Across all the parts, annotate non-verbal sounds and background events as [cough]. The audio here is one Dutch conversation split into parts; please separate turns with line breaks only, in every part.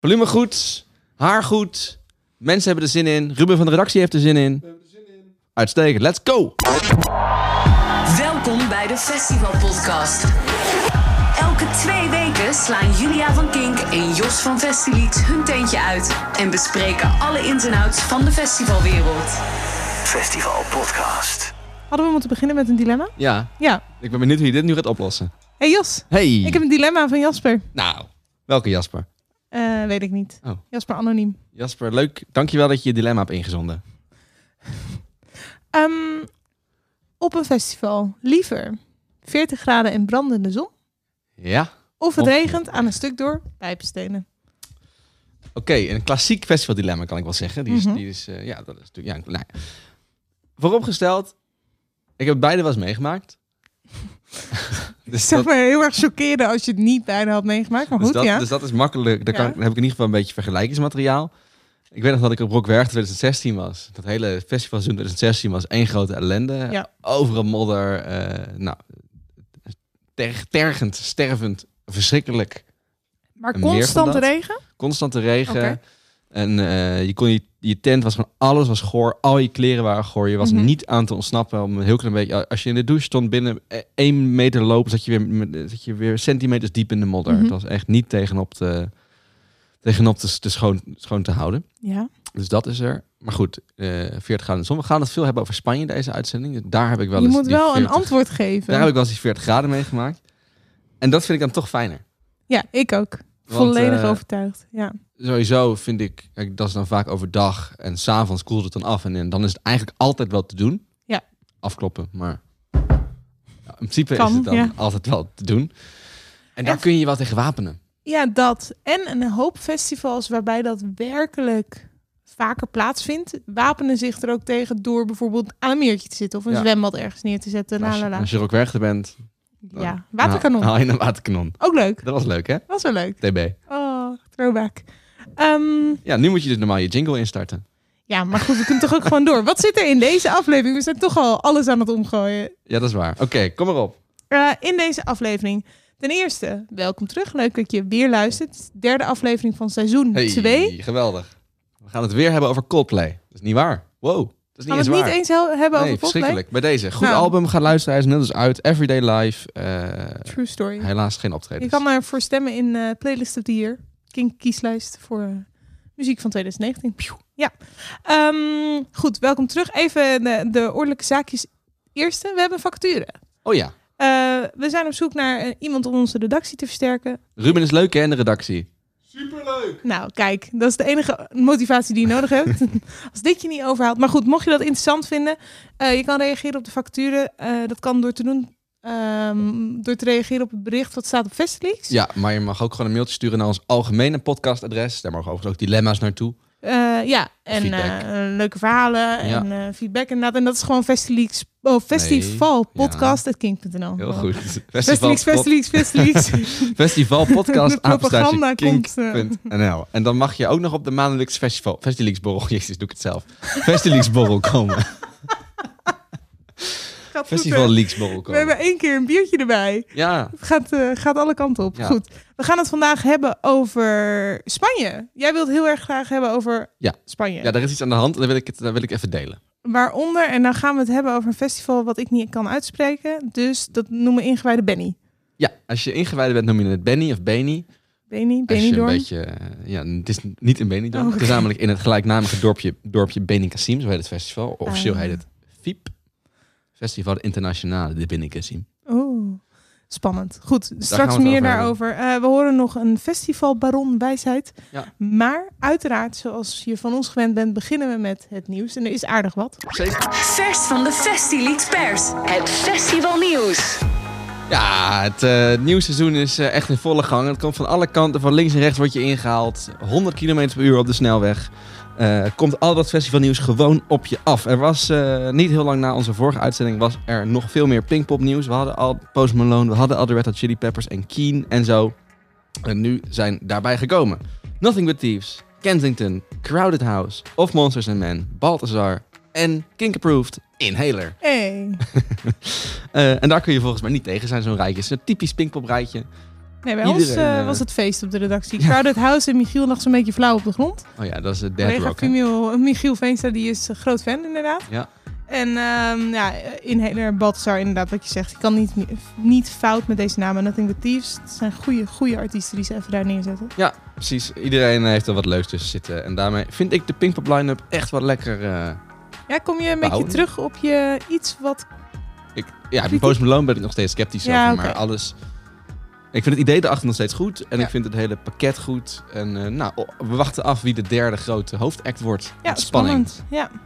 Volume goed, haar goed. Mensen hebben er zin in. Ruben van de redactie heeft er zin in. Uitstekend, let's go!
Welkom bij de Festival Podcast. Elke twee weken slaan Julia van Kink en Jos van Festilied hun tentje uit en bespreken alle ins en outs van de festivalwereld.
Festival Podcast.
Hadden we moeten beginnen met een dilemma?
Ja,
Ja.
ik ben benieuwd hoe je dit nu gaat oplossen.
hey Jos,
Hey!
ik heb een dilemma van Jasper.
Nou, welke Jasper?
Eh, weet ik niet.
Oh.
Jasper anoniem.
Jasper, leuk. Dankjewel dat je je dilemma hebt ingezonden.
Ehm, op een festival liever 40 graden en brandende zon
Ja? Oké,
of het
Of-
regent aan een stuk door pijpenstenen?
een klassiek festivaldilemma kan ik wel zeggen. Die is,
Mhm.
die is eh, ja, dat is natuurlijk... Ja, nou ja. Vooropgesteld, ik heb beide wel eens
[laughs]
meegemaakt. dus
Zeg maar heel erg choqueerde als je het niet bijna had meegemaakt. Maar
Dus,
goed,
dat,
ja.
dus dat is makkelijk. Dan, kan,
Ja.
ik- dan heb ik in ieder geval een beetje vergelijkingsmateriaal. Ik weet nog dat ik op Rockwerg 2016 was. Dat hele festivalseizoen 2016 was één grote ellende.
Ja.
Overal modder. eh, nou, ter- tergend, stervend, verschrikkelijk.
maar
meer van
constante
dat?
regen?
Constante regen.
Oké.
En eh, je, kon je, je tent was gewoon, alles was goor. Al je kleren waren goor. Je was
Mhm.
niet aan te ontsnappen. Om een heel klein beetje, als je in de douche stond binnen eh, één meter lopen, zat je weer, met- zat je weer centimeters diep in de modder.
Mhm.
Het was echt niet tegenop te, tegenop te, te schoon, schoon te houden.
Ja.
Dus dat is er. Maar goed, eh 40 graden in de zon. We gaan het veel hebben over Spanje deze uitzending. Dus Daar heb ik wel
Je
eens
moet
die
wel een
40
antwoord geven.
Daar heb ik wel eens die 40 graden meegemaakt. En dat vind ik dan toch fijner.
Ja, ik ook.
Want,
Volledig
eh,
overtuigd. Ja.
sowieso vind ik, kijk, dat is dan vaak overdag en s'avonds koelt het dan af. En, dan is het eigenlijk altijd wel te doen.
Ja.
Afkloppen, maar in principe
Kan,
is het dan
ja.
altijd wel te doen. En daar
En-
kun je je wel tegen wapenen.
Ja, dat. En een hoop festivals waarbij dat werkelijk vaker plaatsvindt, wapenen zich er ook tegen door bijvoorbeeld aan een meertje te zitten of een
Ja.
zwembad ergens neer te zetten. La,
Als je,
la, la.
als oh. Nou, je er ook weg bent, dan-
Ja, waterkanon.
haal je een waterkanon.
Ook leuk.
Dat was leuk, hè?
Was wel leuk.
TB.
Oh, throwback. Ehm,
Ja, nu moet je dus normaal je jingle instarten.
ja, maar goed, we kunnen toch ook gewoon door. Wat zit er in deze aflevering? We zijn toch al alles aan het omgooien.
Ja, dat is waar. Oké, kom maar op.
Eh, in deze aflevering, ten eerste, welkom terug. Leuk dat je weer luistert. Derde aflevering van seizoen 2.
geweldig. We gaan het weer hebben over Coldplay. Dat is niet waar. Wow, dat is niet
Gaan
eens
we het
waar.
niet eens he- hebben
nee,
over Coldplay?
verschrikkelijk. Bij deze. Goed
Nou.
album, ga luisteren. Hij is inmiddels uit. Everyday Life. Eh,
True story.
helaas geen optreden.
Je kan daarvoor stemmen in eh, Playlist of the Year. King kieslijst voor eh, muziek van 2019. Pjoe. Ja. Ehm, goed, welkom terug. Even de, de ordelijke zaakjes. Eerste, we hebben facturen.
Oh ja.
Eh, we zijn op zoek naar eh, iemand om onze redactie te versterken.
Ruben is leuk hè, in de redactie.
Nou, kijk, dat is de enige motivatie die je nodig hebt. [laughs] Als dit je niet overhaalt. Maar goed, mocht je dat interessant vinden, eh, je kan reageren op de facturen. Eh, dat kan door te doen. ehm, door te reageren op het bericht wat staat op Festileaks.
Ja, maar je mag ook gewoon een mailtje sturen naar ons algemene podcastadres. Daar mogen overigens ook dilemma's naartoe.
Eh, ja, en
Feedback.
eh, eh, leuke verhalen
Ja.
en eh, feedback inderdaad. En dat is gewoon Festileaks, oh, Festival Podcast at King.nl.
Heel goed.
Festileaks, Festileaks,
[laughs]
Festileaks.
Festival
De propaganda komt, eh.
kink.nl. [laughs] En dan mag je ook nog op de maandelijks festival, festivalsborrel, [laughs] jezus doe ik het zelf, festivalsborrel
[laughs]
komen.
Gaat goed, hè?
Festival Leaksborrel
We
komen.
hebben één keer een biertje erbij.
Ja,
Het gaat, eh, gaat alle kanten op.
Ja.
Goed. We gaan het vandaag hebben over Spanje. Jij wilt heel erg graag hebben over
Ja.
Spanje.
ja, daar is iets aan de hand en daar wil ik, het, daar wil ik even delen.
Waaronder, en dan gaan we het hebben over een festival wat ik niet kan uitspreken. Dus dat noemen ingewijde Benny.
Ja, als je ingewijden bent, noem je het Benny of Benny.
Benny,
Als je een
Benidorm.
beetje, eh, ja, het is niet in Benidorm.
Oh, oké.
Het is namelijk in het gelijknamige dorpje, dorpje Benicassim, zo heet het festival. Officieel
Ah.
heet het FIEP. Festival Internationale de Benicassim.
Oh, spannend. Goed,
gaan
straks
we het
meer
over
daarover. Eh, we horen nog een festivalbaron wijsheid.
Ja.
Maar uiteraard, zoals je van ons gewend bent, beginnen we met het nieuws. En er is aardig wat.
Zeker.
Vers van de Festilied pers, het festivalnieuws.
Ja, het eh, nieuwe seizoen is eh, echt in volle gang. Het komt van alle kanten, van links en rechts word je ingehaald. 100 km per uur op de snelweg. Eh, komt al dat festivalnieuws gewoon op je af. Er was eh, niet heel lang na onze vorige uitzending was er nog veel meer Pinkpopnieuws. We hadden al Post Malone, we hadden al de Red Hot Chili Peppers en Keen en zo. En nu zijn daarbij gekomen Nothing But Thieves, Kensington, Crowded House, Of Monsters and Men, Balthazar en Kink Approved Inhaler.
Hey.
Eh, en daar kun je volgens mij niet tegen zijn, zo'n rijtje. Het is een typisch Pinkpop rijtje.
Nee, bij ons
Iedereen,
eh,
eh,
was het feest op de redactie. Crowded House en Michiel lag zo'n beetje flauw op de grond.
Oh ja, dat is het Dead
Collega
Rock. hè?
Michiel, Michiel Veenstra, die is een groot fan inderdaad.
Ja.
En ehm ja, inhaler Balthazar, inderdaad wat je zegt. Ik kan niet, niet fout met deze namen. Nothing But Thieves. Het zijn goede, goede artiesten die ze even daar neerzetten.
Precies, iedereen heeft er wat leuks tussen zitten. En daarmee vind ik de Pinkpop line-up echt wat lekker. eh,
Ja, kom je een beetje
Behouden.
terug op je iets wat...
ik, ja, bij Post Malone ben ik nog steeds sceptisch
Ja,
over, maar
oké.
alles... Ik vind het idee daarachter nog steeds goed. En
Ja.
ik vind het hele pakket goed. En eh, nou, oh, we wachten af wie de derde grote hoofdact wordt.
Ja,
Met spanning.
spannend. Ja.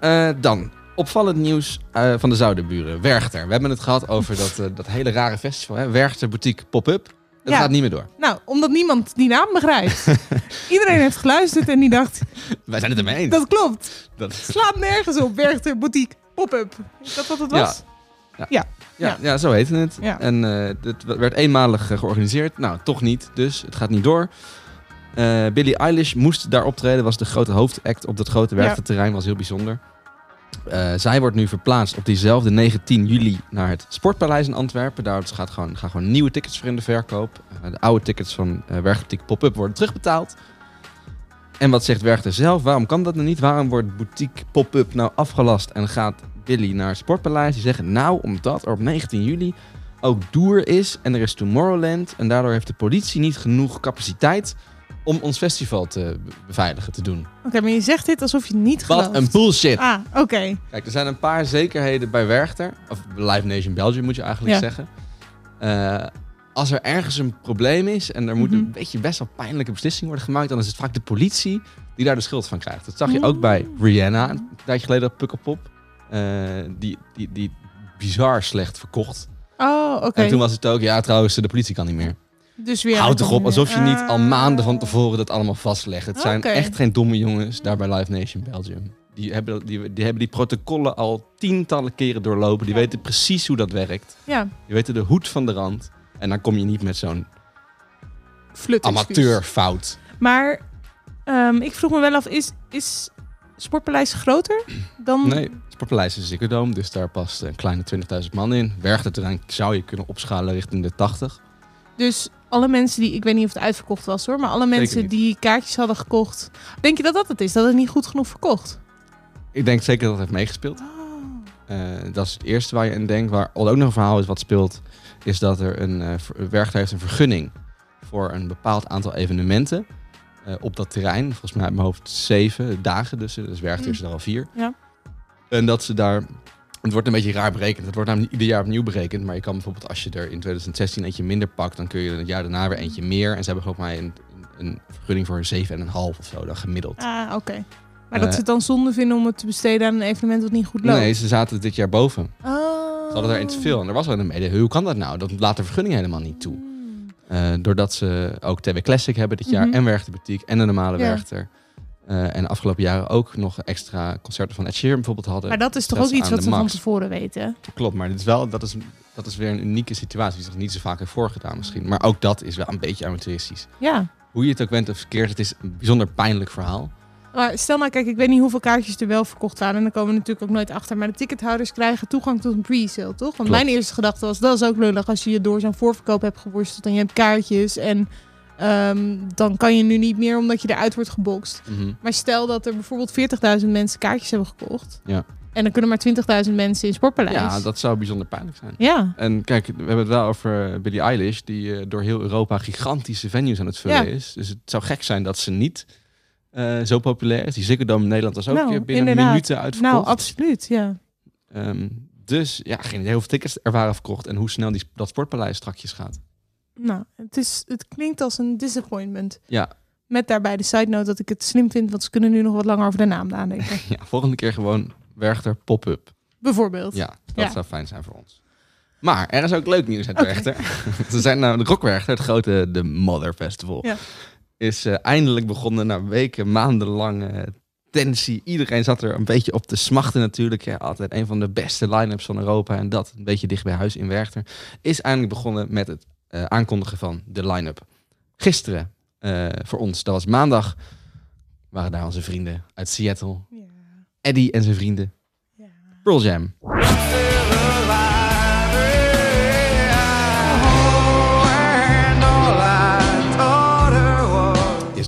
Eh, dan, opvallend nieuws eh, van de Zouderburen. Werchter. We hebben het gehad over dat, eh, dat hele rare festival. Hè? Werchter Boutique Pop-Up. Dat
Ja.
gaat niet meer door.
Nou, omdat niemand die naam
[laughs]
begrijpt. Iedereen heeft geluisterd en die dacht,
Wij zijn het ermee eens.
dat klopt.
Dat-
Slaat nergens op. Werchter, boutique, pop-up. Is dat wat het
Ja.
was?
ja, ja.
Ja.
zo heette het.
Ja.
En eh het werd eenmalig eh, georganiseerd. Nou, toch niet. Dus het gaat niet door. Eh Billie Eilish moest daar optreden. Was de grote hoofdact op dat grote
Ja.
werkterrein. Was heel bijzonder. Eh, zij wordt nu verplaatst op diezelfde 19 juli naar het Sportpaleis in Antwerpen. Daar dus gaat gewoon, gaan gewoon nieuwe tickets voor in de verkoop. Eh, de oude tickets van eh Werchter Pop-Up worden terugbetaald. En wat zegt Werchter zelf? Waarom kan dat nou niet? Waarom wordt boutique pop-up nou afgelast en gaat Billy naar het Sportpaleis? Die zeggen nou omdat er op 19 juli ook Doer is en er is Tomorrowland. En daardoor heeft de politie niet genoeg capaciteit om ons festival te be- beveiligen, te doen.
Oké, maar je zegt dit alsof je het niet gelooft.
Wat een bullshit!
Ah, oké.
Kijk, er zijn een paar zekerheden bij Werchter. Of Live Nation Belgium moet je eigenlijk
Ja.
zeggen. Eh, als er ergens een probleem is en er moet
Mhm.
een beetje best wel pijnlijke beslissing worden gemaakt, dan is het vaak de politie die daar de schuld van krijgt. Dat zag je ook bij Rihanna een tijdje geleden op Pukkelpop. Eh, die, die, die bizar slecht verkocht.
Oh, oké.
En toen was het ook, ja trouwens, de politie kan niet meer.
Dus weer
Houd toch op, alsof je niet al
Ah.
maanden van tevoren dat allemaal vastlegt. Het zijn
Oké.
echt geen domme jongens daar bij Live Nation Belgium. Die hebben die, die, hebben die protocollen al tientallen keren doorlopen. Die
Ja.
weten precies hoe dat werkt.
Ja,
Die weten de hoed van de rand. En dan kom je niet met zo'n
flut.
amateurfout.
Maar ehm, ik vroeg me wel af, is, is Sportpaleis groter dan...
Nee, Sportpaleis is een Dome, dus daar past een kleine 20.000 man in. Werchterterrein zou je kunnen opschalen richting de 80.
Dus alle mensen die, ik weet niet of het uitverkocht was hoor, maar alle mensen
niet.
die kaartjes hadden gekocht. Denk je dat dat het is? Dat het niet goed genoeg verkocht?
Ik denk zeker dat het heeft meegespeeld. Eh, dat is het eerste waar je aan denkt. Waar al ook nog een verhaal is wat speelt, is dat er een eh, ver- werchter heeft een vergunning voor een bepaald aantal evenementen eh, op dat terrein. Volgens mij uit mijn hoofd zeven dagen, dus, eh, dus werchter is er al vier.
Ja.
En dat ze daar, het wordt een beetje raar berekend. Het wordt namelijk ieder jaar opnieuw berekend, maar je kan bijvoorbeeld als je er in 2016 eentje minder pakt, dan kun je er het jaar daarna weer eentje meer. En ze hebben volgens mij een, een vergunning voor een 7,5 of zo dan gemiddeld.
Ah, oké. Maar dat
Eh.
ze het dan zonde vinden om het te besteden aan een evenement wat niet goed loopt.
Nee, ze zaten dit jaar boven.
Oh.
Ze hadden er één te veel en er was wel een mede. Hoe kan dat nou? Dat laat de vergunning helemaal niet toe. Eh, doordat ze ook TW Classic hebben dit jaar
Mhm.
en Werchter Boutique en de normale
Ja.
Werchter. Eh, en de afgelopen jaren ook nog extra concerten van Ed Sheeran bijvoorbeeld hadden.
Maar dat is toch
Zelfs
ook iets
aan
wat
de
ze van
max.
tevoren weten?
Klopt, maar dit is wel, dat, is, dat is weer een unieke situatie die zich niet zo vaak heeft voorgedaan misschien. Maar ook dat is wel een beetje amateuristisch.
Ja.
Hoe je het ook bent of verkeerd, het is een bijzonder pijnlijk verhaal.
Maar stel nou, kijk, ik weet niet hoeveel kaartjes er wel verkocht waren. En daar komen we natuurlijk ook nooit achter. Maar de tickethouders krijgen toegang tot een pre-sale, toch? Want
Klopt.
mijn eerste gedachte was, dat is ook lullig als je je door zo'n voorverkoop hebt geworsteld. En je hebt kaartjes en ehm, dan kan je nu niet meer omdat je eruit wordt gebokst.
Mhm.
Maar stel dat er bijvoorbeeld 40.000 mensen kaartjes hebben gekocht.
Ja.
En dan kunnen maar 20.000 mensen in Sportpaleis.
Ja, dat zou bijzonder pijnlijk zijn.
Ja.
En kijk, we hebben het wel over Billie Eilish, die eh, door heel Europa gigantische venues aan het vullen
Ja.
is. Dus het zou gek zijn dat ze niet eh, zo populair is. Die Ziggo Dome in Nederland was ook
Nou,
weer binnen
inderdaad.
minuten uitverkocht.
Nou, absoluut, ja.
Ehm, dus ja, geen idee hoeveel tickets er waren verkocht en hoe snel die, dat sportpaleis strakjes gaat. [laughs]
Nou, het, is, het klinkt als een disappointment.
Ja.
Met daarbij de side note dat ik het slim vind, want ze kunnen nu nog wat langer over de naam nadenken.
Ja, volgende keer gewoon Werchter pop-up.
Bijvoorbeeld.
Ja, dat
Ja.
zou fijn zijn voor ons. Maar er is ook leuk nieuws uit
Oké.
Werchter. [laughs] Ze zijn nou, de Rockwerchter, het grote de Mother Festival,
Ja.
is eh, eindelijk begonnen na weken, maandenlange tensie. Iedereen zat er een beetje op te smachten natuurlijk. Ja, altijd een van de beste line-ups van Europa en dat een beetje dicht bij huis in Werchter. Is eindelijk begonnen met het eh, aankondigen van de line-up. Gisteren eh, voor ons, dat was maandag, waren daar onze vrienden uit Seattle.
Ja.
Eddie en zijn vrienden.
Ja.
Pearl Jam.
Oh,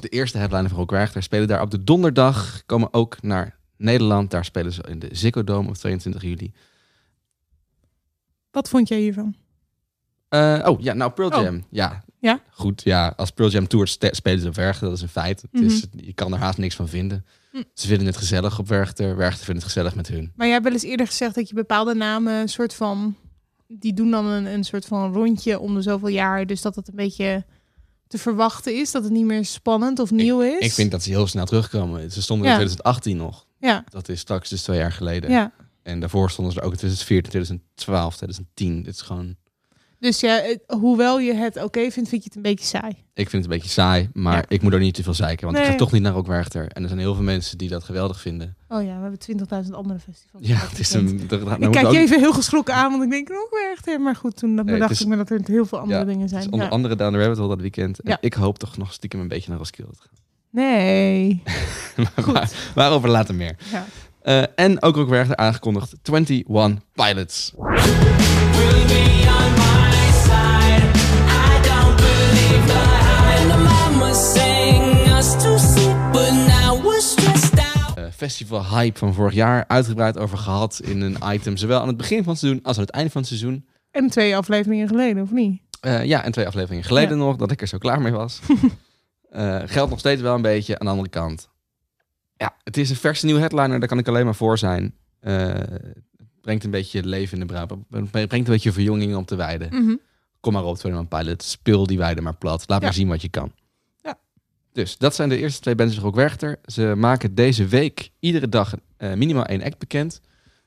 eerste headliner van Rock Werchter spelen daar op de donderdag. Komen ook naar Nederland. Daar spelen ze in de Ziggo Dome op 22 juli.
Wat vond jij hiervan?
Eh, oh ja, nou Pearl
Oh.
Jam. Ja.
Ja?
Goed, ja. Als Pearl Jam toert ste- spelen ze op Werchter. Dat is een feit. Het
Mhm.
is, je kan er haast niks van vinden.
Hm.
Ze vinden het gezellig op Werchter. Werchter vindt het gezellig met hun.
Maar jij hebt wel eens eerder gezegd dat je bepaalde namen een soort van... Die doen dan een, een soort van rondje om de zoveel jaar. Dus dat het een beetje te verwachten is. Dat het niet meer spannend of nieuw is.
Ik vind dat ze heel snel terugkomen. Ze stonden
Ja.
in 2018 nog.
Ja,
Dat is straks dus twee jaar geleden.
ja.
En daarvoor stonden ze er ook in 2014, 2012, 2010. Dit is gewoon...
Dus ja, het- hoewel je het oké vindt, vind je het een beetje saai.
Ik vind het een beetje saai, maar
Ja.
ik moet er niet te veel zeiken. Want ik ga
Nee.
toch niet naar Rockwerchter. En er zijn heel veel mensen die dat geweldig vinden.
Oh ja, we hebben 20.000 andere festivals.
Ja, het is een... dat- nou,
ik
moet
kijk
ook-
je even heel geschrokken aan, want ik denk ook wel echt. hè, Maar goed, toen dat
Nee, het
bedacht
is-
ik me dat er heel veel andere
Ja,
dingen
het is
zijn.
onder
Ja.
andere Down the Rabbit Hole dat weekend. En
Ja.
ik hoop toch nog stiekem een beetje naar Roskilde te gaan. [laughs]
Nee.
Maar
Goed.
waar- waarover later meer.
Ja.
Eh, en ook Rockwerchter aangekondigd 21 Pilots. Eh, festival hype van vorig jaar. Uitgebreid over gehad in een item. Zowel aan het begin van het seizoen als aan het einde van het seizoen.
En twee afleveringen geleden, of niet?
Eh, ja, en twee afleveringen geleden nog, dat ik er zo klaar mee
[laughs]
was. Eh, geldt nog steeds wel een beetje aan de andere kant. Ja, het is een verse nieuwe headliner, daar kan ik alleen maar voor zijn. Eh, het brengt een beetje leven in de braap. Het brengt een beetje verjonging op de weide. Kom maar op, 21 Pilot, speel die weide maar plat. Laat
Mhm. Ja.
maar zien wat je kan.
Ja.
Dus dat zijn de eerste twee bands van Rock Werchter. Ze maken deze week iedere dag eh, minimaal één act bekend.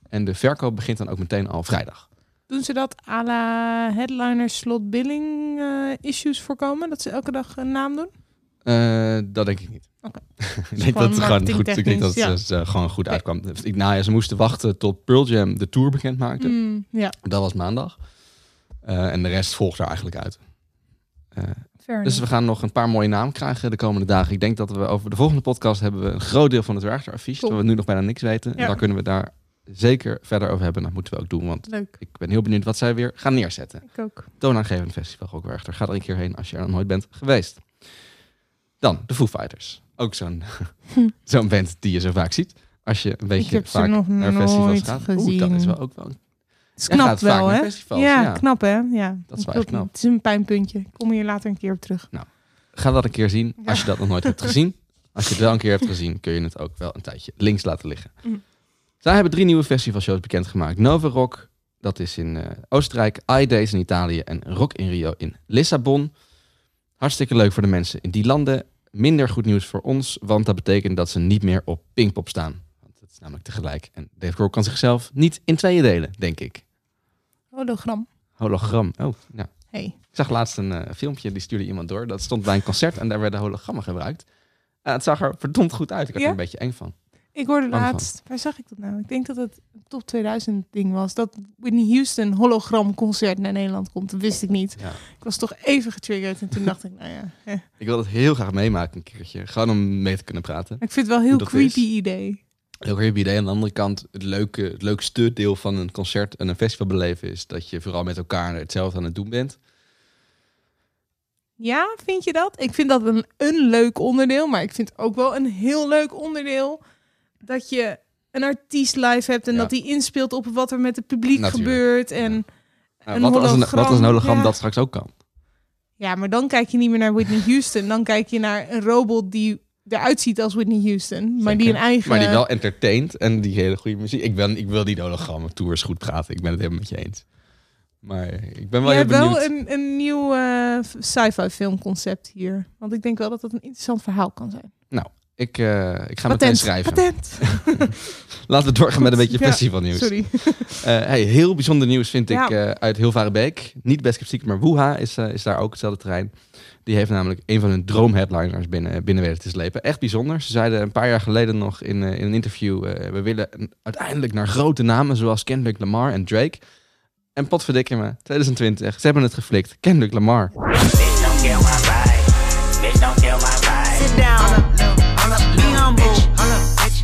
En de verkoop begint dan ook meteen al vrijdag.
Doen ze dat à la headliner slot billing eh, issues voorkomen? Dat ze elke dag een naam doen?
Eh, dat denk ik niet.
Oké.
[laughs] ik denk dat het gewoon goed, ik denk dat
marketingtechnisch,
het eh, gewoon goed
Nee.
uitkwam. Ik, nou ja, ze moesten wachten tot Pearl Jam de tour bekend maakte.
Mm, ja,
Dat was maandag. Eh, en de rest volgt er eigenlijk uit.
fair
Dus we
enough.
gaan nog een paar mooie namen krijgen de komende dagen. Ik denk dat we over de volgende podcast hebben we een groot deel van het werkteraffiche.
Cool.
Terwijl we nu nog bijna niks weten.
Ja.
Daar kunnen we daar zeker verder over hebben. Dat moeten we ook doen, want
Leuk,
ik ben heel benieuwd wat zij weer gaan neerzetten.
ik ook.
toonaangevend festival ook Werchter. Ga er een keer heen als je er nog nooit bent geweest. Dan de Foo Fighters. Ook zo'n [laughs] zo'n band die je zo vaak ziet. Als je een beetje
Hm. heb ze
vaak
nog
naar festivals
nooit
gaat. Oeh,
gezien.
dat is wel ook wel.
Het is
Jij
knap
gaat
wel,
vaak naar
hè?
festivals,
ja,
ja.
knap, hè? Ja.
Dat is wel
klopt.
echt knap.
Het is een pijnpuntje. Ik kom hier later een keer op terug.
Ga dat een keer zien
Ja.
als je dat nog nooit hebt gezien. Als je het wel een keer hebt gezien, kun je het ook wel een tijdje links laten liggen.
Mm.
Zij hebben drie nieuwe festivalshows bekendgemaakt. Nova Rock, dat is in eh, Oostenrijk. iDays in Italië en Rock in Rio in Lissabon. Hartstikke leuk voor de mensen in die landen. Minder goed nieuws voor ons, want dat betekent dat ze niet meer op Pinkpop staan. Want dat is namelijk tegelijk. En Dave Grohl kan zichzelf niet in tweeën delen, denk ik.
Hologram.
Hologram. Oh, ja.
Hey.
Ik zag laatst een eh, filmpje, die stuurde iemand door. Dat stond bij een concert en daar werden hologrammen gebruikt. En het zag er verdomd goed uit. Ik had
Ja?
er een beetje eng van.
Ik hoorde
Bang van.
laatst, waar zag ik dat nou? Ik denk dat het een top 2000 ding was. Dat Whitney Houston hologram concert naar Nederland komt. Dat wist ik niet.
Ja.
Ik was toch even getriggerd en toen dacht ik, nou ja. hè.
Ik wil het heel graag meemaken een keertje. Gewoon om mee te kunnen praten.
Maar Ik vind het wel een heel
dat
creepy
is.
idee.
Heel erg idee. Aan de andere kant, het, leuke, het leukste deel van een concert en een festival beleven is dat je vooral met elkaar hetzelfde aan het doen bent.
Ja, vind je dat? Ik vind dat een, een leuk onderdeel, maar ik vind ook wel een heel leuk onderdeel dat je een artiest live hebt en
Ja.
dat die inspeelt op wat er met het publiek
Natuurlijk,
gebeurt. En ja.
Nou,
Een
wat, als een,
hologram,
wat als een hologram
ja.
dat straks ook kan.
maar dan kijk je niet meer naar Whitney Houston. Dan kijk je naar een robot die eruit ziet als Whitney Houston, maar die een
Zeker.
eigen...
Maar die wel entertaint en die hele goede muziek. Ik, ben, ik wil die hologrammen tours goed praten. Ik ben het helemaal met je eens. Maar ik ben wel heel
Je hebt
benieuwd.
wel een, een nieuw eh, sci-fi filmconcept hier. Want ik denk wel dat dat een interessant verhaal kan zijn.
Ik, eh, ik ga meteen schrijven.
Patent.
Laten we doorgaan met een beetje
Ja,
festivalnieuws.
[laughs] Sorry.
Eh, hey, heel bijzonder nieuws vind
Ja.
ik eh, uit Hilvarenbeek. Niet Best Kept Secret, maar Woeha is, eh, is daar ook hetzelfde terrein. Die heeft namelijk een van hun droomheadliners binnen, eh, binnen weten te slepen. Echt bijzonder. Ze zeiden een paar jaar geleden nog in, eh, in een interview... eh, we willen een- uiteindelijk naar grote namen zoals Kendrick Lamar en Drake. En potverdikke me, 2020, ze hebben het geflikt. Kendrick Lamar.
Bitch, don't kill my vibe. Bitch, don't kill my vibe.
Sit down. Be humble.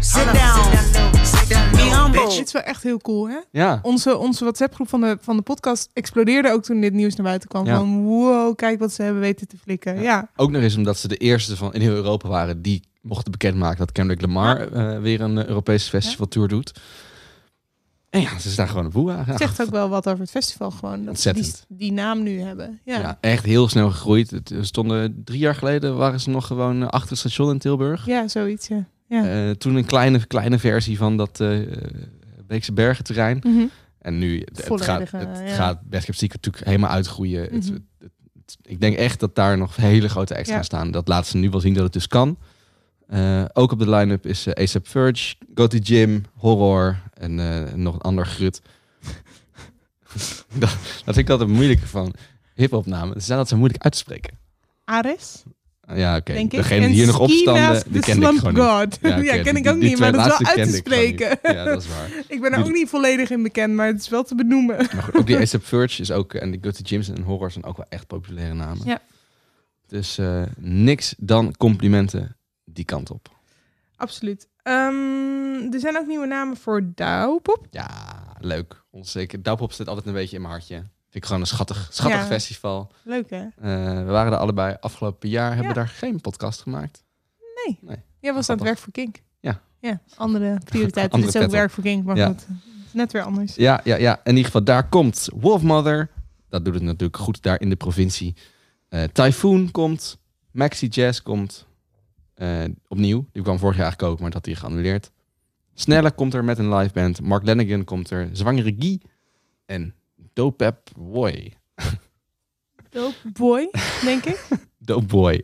Sit down. Be humble.
Dit is wel echt heel cool, hè?
Ja.
Onze, onze WhatsApp-groep van de, van de podcast explodeerde ook toen dit nieuws naar buiten kwam.
Ja.
Van wow, kijk wat ze hebben weten te flikken. Ja, ja.
Ook nog eens omdat ze de eerste van in heel Europa waren die mochten bekendmaken dat Kendrick Lamar eh, weer een eh, Europese festivaltour doet. En ja, ze staan gewoon op boe.
Het zegt ook wel wat over het festival gewoon. Dat ze die,
Ontzettend.
die naam nu hebben. Ja.
Ja. ja, echt heel snel gegroeid. Het eh, stonden drie jaar geleden waren ze nog gewoon eh, achter het station in Tilburg.
Ja, zoiets. Ja. Ja.
Eh, toen een kleine, kleine versie van dat eh Beekse Bergen terrein.
Mhm.
En nu, het, het gaat,
Volledige,
het
eh, ja.
gaat Best Kept Secret natuurlijk helemaal uitgroeien. Het-
Mhm.
het, het- ik denk echt dat daar nog hele grote acts
Ja.
gaan staan. Dat laten ze nu wel zien dat het dus kan. Eh, ook op de line-up is eh, A$AP Verge, Go To Gym, Horror en eh, nog een ander grut. [laughs] dat, dat vind ik altijd moeilijk van hip-hop namen. Ze zijn dat zo moeilijk uit te spreken. Ah,
Ares,
Ja, oké.
denk ik.
Degene
En
die hier nog
Ski Mask,
opstanden,
de
die ken ik
Slump
gewoon niet.
God. [laughs] Ja,
oké,
ken
die-
ik ook
die
niet,
twee
maar dat is wel
laatste
uit te
kende ik gewoon
spreken.
niet. Ja, dat is waar.
[laughs] Ik ben er
Die-
ook niet volledig in bekend, maar het is wel te benoemen. [laughs]
Maar goed, ook die A$AP Verge is ook, en die Gutty Gyms en Horror zijn ook wel echt populaire namen.
Ja.
Dus eh, niks dan complimenten die kant op.
Absoluut. Ehm, er zijn ook nieuwe namen voor Douwpop.
Ja, leuk. Onzeker. Douwpop zit altijd een beetje in mijn hartje. Vind ik gewoon een schattig, schattig
Ja.
festival.
Leuk hè?
Eh, we waren er allebei afgelopen jaar, hebben
Ja.
we daar geen podcast gemaakt.
Jij was dat
Grappig.
werk voor Kink.
Ja.
Ja, andere prioriteit.
Andere
Dit is ook
pet op.
werk voor Kink, maar
Ja.
goed. Net weer anders.
Ja, ja, ja. In ieder geval, daar komt Wolfmother. Dat doet het natuurlijk goed daar in de provincie. Eh, Typhoon komt. Maxi Jazz komt. Eh, opnieuw. Die kwam vorig jaar eigenlijk ook, maar dat had hij geannuleerd. Snelle komt er met een live band. Mark Lennigan komt er. Zwangere Guy. En Dopep Boy.
Dope boy, denk ik.
Dope Boy.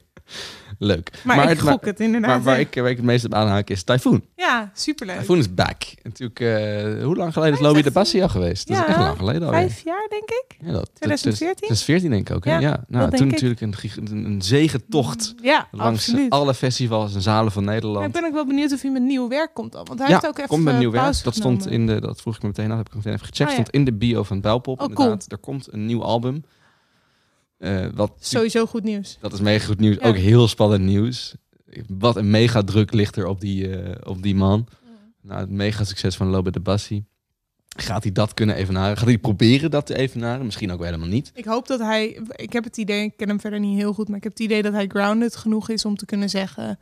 Leuk.
Maar, ik
het-
gok het inderdaad.
maar waar,
hè.
ik, waar ik het meest op aanhaak is Typhoon.
Ja, superleuk.
Typhoon is back. Natuurlijk, eh, hoe lang geleden is
Hij is
Lobby
echt-
de Bassi al geweest? Dat
Ja,
is echt lang geleden alweer.
Vijf jaar, denk ik.
Ja, dat, dat- dat is-
2014?
2014 denk ik ook. Hè? Ja,
Ja,
Nou,
dat
toen
denk
natuurlijk een, gig- een, een zegentocht
Ja,
langs
absoluut.
alle festivals en zalen van
Maar ik
Nederland.
ben ook wel benieuwd of hij met nieuw werk komt dan. Want hij
ja,
heeft ook even
komt met
eh,
nieuw werk.
pauze
Dat stond
genomen.
in de, dat vroeg ik me meteen af, heb ik meteen even gecheckt.
Oh, ja.
Stond in de bio van Belpop.
Oh, cool.
inderdaad. Er komt een nieuw album. Eh, wat,
Sowieso goed nieuws.
dat is mega goed nieuws.
Ja.
Ook heel spannend nieuws. Wat een mega druk ligt er op die, eh, op die man.
Mm.
Nou, het mega succes van Lobe de Bassi. Gaat hij dat kunnen evenaren? Gaat hij proberen dat te evenaren? Misschien ook wel helemaal niet.
Ik hoop dat hij... Ik heb het idee, ik ken hem verder niet heel goed... maar ik heb het idee dat hij grounded genoeg is om te kunnen zeggen...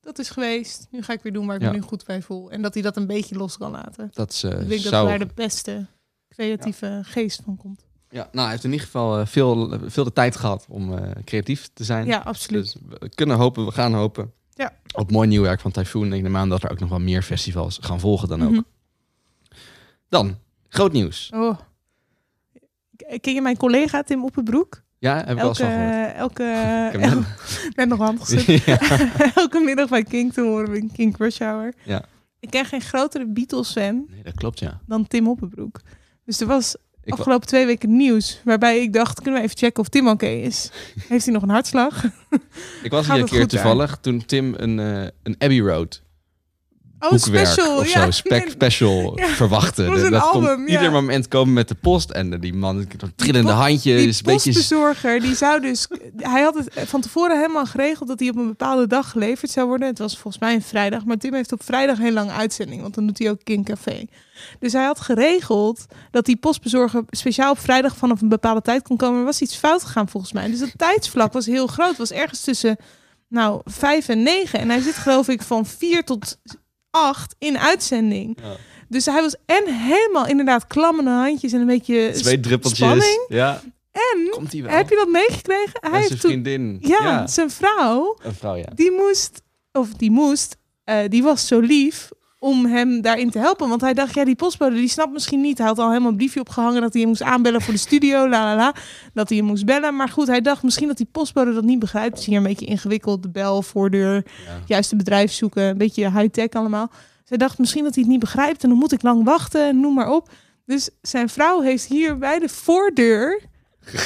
dat is geweest, nu ga ik weer doen waar ik
Ja.
me nu goed bij voel. En dat hij dat een beetje los kan laten.
Dat is, eh,
ik denk
zou...
dat daar de beste creatieve geest van komt.
Ja, nou, hij heeft in ieder geval eh, veel, veel de tijd gehad om eh, creatief te zijn.
Ja, absoluut.
Dus we kunnen hopen, we gaan hopen.
Ja.
Op mooi nieuw werk van Typhoon. Ik neem aan dat er ook nog wel meer festivals gaan volgen dan ook.
Mhm.
Dan, groot nieuws.
Oh. K- Ken je mijn collega Tim Oppenbroek?
Ja, heb ik wel eens
Elke, eh,
van gehoord. [laughs]
elke, [laughs]
Ik heb
el- net nog hand
[laughs]
geschud.
ja.
[laughs] elke middag bij King te horen bij King Rush Hour.
Ja.
Ik ken geen grotere Beatles-fan
Nee, dat klopt, ja.
dan Tim Hoppenbroek. Dus er was
Ik wa-
afgelopen twee weken nieuws waarbij ik dacht, kunnen we even checken of Tim oké
[laughs]
is? Heeft hij nog een hartslag?
Ik was
Gaat
hier een
het
keer
goed daar?
toevallig toen Tim een, eh, een Abbey Road
Oh,
boekwerk
special.
of zo,
ja,
spec-
[laughs] nee,
special
Ja,
verwachtte.
dat was een
kon
album, ja.
ieder moment komen met de post. En eh, die man, trillende
po-
handjes,
die
een beetje
postbezorger, die zou dus... Hij had het van tevoren helemaal geregeld dat hij op een bepaalde dag geleverd zou worden. Het was volgens mij een vrijdag, maar Tim heeft op vrijdag een heel lange uitzending. Want dan doet hij ook King Café. Dus hij had geregeld dat die postbezorger speciaal op vrijdag vanaf een bepaalde tijd kon komen. Er was iets fout gegaan volgens mij. Dus dat tijdsvlak was heel groot. Het was ergens tussen, nou, vijf en negen. En hij zit geloof ik van vier tot acht in uitzending.
Ja.
Dus hij was en helemaal inderdaad klammende handjes en een beetje
twee druppeltjes.
spanning.
Ja.
En
Komt hij wel?
heb je dat meegekregen? Hij
Hij
heeft
zijn
toen,
vriendin.
ja, zijn vrouw,
Een vrouw, ja.
die moest, of die moest, eh, die was zo lief om hem daarin te helpen. Want hij dacht, ja, die postbode, die snapt misschien niet. Hij had al helemaal een briefje opgehangen dat hij hem moest aanbellen voor de studio, la la la. Dat hij hem moest bellen. Maar goed, hij dacht misschien dat die postbode dat niet begrijpt. Het is hier een beetje ingewikkeld, de bel, voordeur, juiste bedrijf zoeken, een beetje high-tech allemaal. Zij dacht misschien dat hij het niet begrijpt en dan moet ik lang wachten en noem maar op. Dus zijn vrouw heeft hier bij de voordeur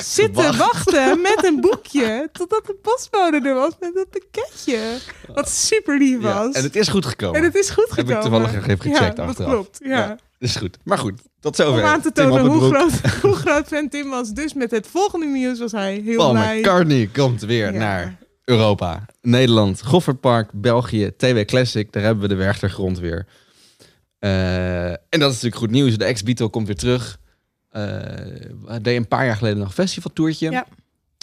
zitten
Gewacht.
wachten met een boekje totdat de postbode er was met dat pakketje. Wat super lief
Ja,
was.
En het is goed gekomen.
En het is goed
Heb ik
gekomen.
toevallig nog even gecheckt
ja,
achteraf.
Dat klopt, ja.
Ja, is goed. Maar goed, tot zover.
Om aan te
Tim
tonen hoe
Hoppenbroek.
groot, [laughs] hoe groot fan Tim was. Dus met het volgende nieuws was hij heel
Paul
blij.
McCartney komt weer
Ja.
naar Europa. Nederland, Goffertpark, België, TW Classic. Daar hebben we de Werchtergrond weer. Eh, en dat is natuurlijk goed nieuws. De ex-Beatle komt weer terug. Eh, hij deed een paar jaar geleden nog een festivaltoertje.
Ja.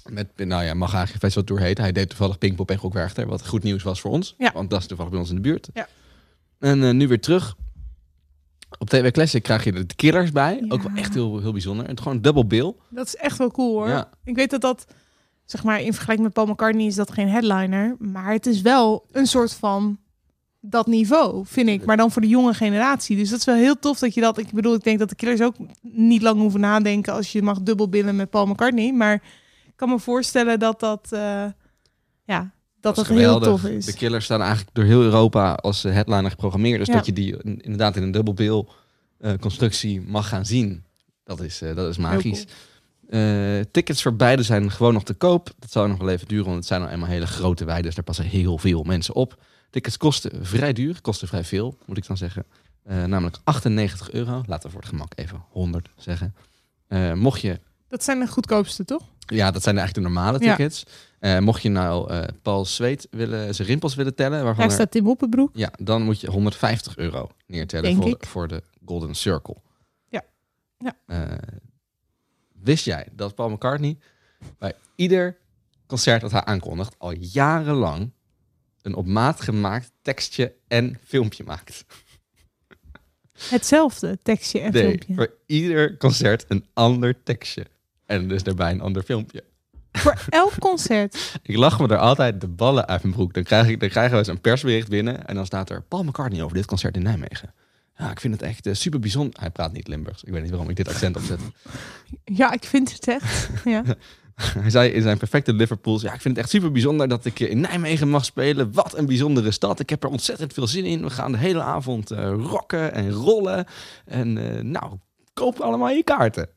Met, nou ja, mag eigenlijk een festivaltour heten. Hij deed toevallig Pinkpop en Gokwerchter. Wat goed nieuws was voor ons.
Ja.
Want dat is toevallig bij ons in de buurt.
Ja.
En eh, nu weer terug. Op TV Classic krijg je de Killers bij.
Ja.
Ook wel echt heel, heel bijzonder. Het gewoon een double bill.
Dat is echt wel cool hoor.
Ja.
Ik weet dat dat, zeg maar, in vergelijking met Paul McCartney is dat geen headliner. Maar het is wel een soort van dat niveau, vind ik. Maar dan voor de jonge generatie. Dus dat is wel heel tof dat je dat... Ik bedoel, ik denk dat de killers ook niet lang hoeven nadenken... als je mag dubbelbillen met Paul McCartney. Maar ik kan me voorstellen dat dat... eh, ja, dat dat,
is
heel
geweldig.
tof
De
is.
Killers staan eigenlijk door heel Europa als eh, headliner geprogrammeerd. Dus
Ja.
dat je die in- inderdaad in een double bill eh, constructie mag gaan zien. Dat is, eh, dat is magisch. Eh, tickets voor beide zijn gewoon nog te koop. Dat zou nog wel even duren, want het zijn al eenmaal hele grote weiden. Dus daar passen heel veel mensen op. Tickets kosten vrij duur, kosten vrij veel, moet ik dan zeggen. Eh, namelijk 98 euro. Laten we voor het gemak even 100 zeggen. Eh, mocht je
Dat zijn de goedkoopste, toch?
ja, dat zijn eigenlijk de normale
Ja.
tickets. Eh, mocht je nou eh, Paul Zweet willen, zijn rimpels willen tellen, waarvan
Daar
er-
staat Tim Hoppenbroek.
ja, dan moet je 150 euro neertellen
Denk
voor,
ik.
voor de Golden Circle.
Ja. Ja.
Eh, wist jij dat Paul McCartney bij ieder concert dat hij aankondigt al jarenlang een op maat gemaakt tekstje en filmpje maakt?
Hetzelfde tekstje en
Nee, [laughs]
filmpje.
voor ieder concert een ander tekstje. En dus daarbij een ander filmpje.
Voor elk concert.
Ik lach me er altijd de ballen uit mijn broek. Dan, krijg ik, dan krijgen we eens een persbericht binnen. En dan staat er Paul McCartney over dit concert in Nijmegen. Ja, ik vind het echt eh, super bijzonder. Hij praat niet Limburgs. Ik weet niet waarom ik dit accent opzet. [laughs]
Ja, ik vind het echt. Ja.
Hij zei in zijn perfecte Liverpools... Ja, ik vind het echt super bijzonder dat ik eh, in Nijmegen mag spelen. Wat een bijzondere stad. Ik heb er ontzettend veel zin in. We gaan de hele avond eh, rocken en rollen. En eh, nou, koop allemaal je kaarten. [laughs]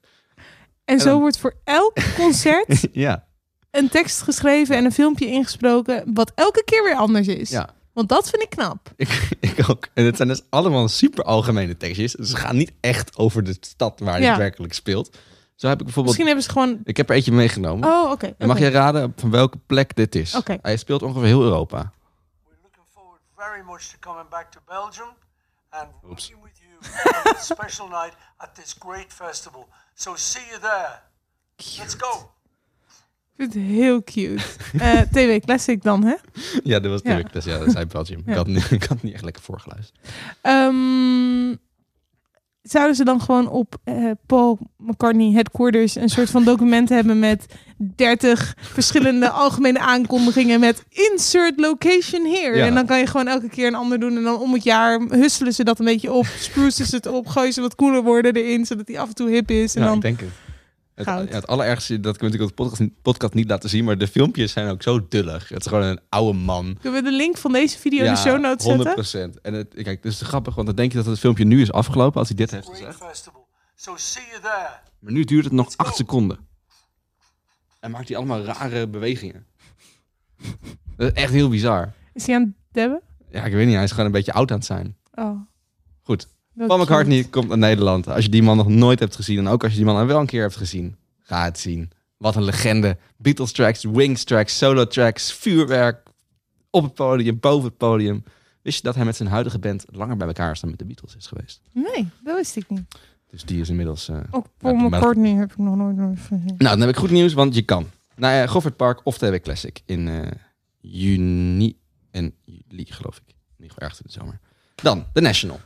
En
En
zo
dan-
wordt voor elk
[laughs]
concert
ja,
een tekst geschreven en een filmpje ingesproken, wat elke keer weer anders is.
ja.
Want dat vind ik knap.
Ik, [laughs] ik ook. En het zijn dus allemaal super algemene tekstjes. Dus Ze gaan niet echt over de stad waar
Ja.
het werkelijk speelt. Zo heb ik bijvoorbeeld...
Misschien hebben ze gewoon.
Ik heb er eentje meegenomen.
Oh, oké. oké.
En mag jij raden van welke plek dit is?
Oké.
Hij speelt ongeveer heel Europa.
We're looking forward very much to coming back to Belgium and
Oops.
working with you
[laughs]
on this special night at this great festival. So see you there. Let's go.
Ik vind het heel cute. Eh, [laughs] TV Classic dan, hè?
[laughs] Ja, dat was
Ja.
natuurlijk. Dus ja, dat zei
[laughs]
Belgium. Ik, had, niet- ik had niet echt lekker voorgeluisterd.
Ehm, zouden ze dan gewoon op eh, Paul McCartney Headquarters een soort van
[laughs]
document hebben met 30 verschillende algemene aankondigingen met insert location here.
Ja.
En dan kan je gewoon elke keer een ander doen en dan om het jaar husselen ze dat een beetje op, sprucen ze het op, gooien ze wat cooler woorden erin, zodat die af en toe hip is. En
Ja,
dan,
ik denk het. Het,
Goud.
ja, het allerergste, dat kunnen we natuurlijk op de podcast, niet- podcast niet laten zien, maar de filmpjes zijn ook zo dullig. Het is gewoon een oude man.
kunnen we de link van deze video in de show notes zetten?
100%. En het, kijk, het is grappig, want dan denk je dat het filmpje nu is afgelopen als hij dit heeft
Great
gezegd.
festival. So see you there.
Maar nu duurt het nog 8 seconden. En maakt hij allemaal rare bewegingen. [laughs] Dat is echt heel bizar.
Is die aan het debben?
Ja, ik weet niet, hij is gewoon een beetje oud aan het zijn.
Oh.
Goed.
wel
Paul
cute.
McCartney komt naar Nederland. Als je die man nog nooit hebt gezien, en ook als je die man wel een keer hebt gezien, ga het zien. Wat een legende. Beatles tracks, Wings tracks, solo tracks, vuurwerk. Op het podium, boven het podium. Wist je dat hij met zijn huidige band langer bij elkaar is dan met de Beatles is geweest?
Nee, dat wist ik niet.
Dus die is inmiddels... eh,
Ook Paul
Ja, maar-
McCartney heb ik nog nooit nooit gezien.
Nou, dan heb ik goed nieuws, want je kan. Naar eh Goffert Park of TW Classic in eh, juni en juli, geloof ik. Niet geval ergens in de zomer. Dan, The National.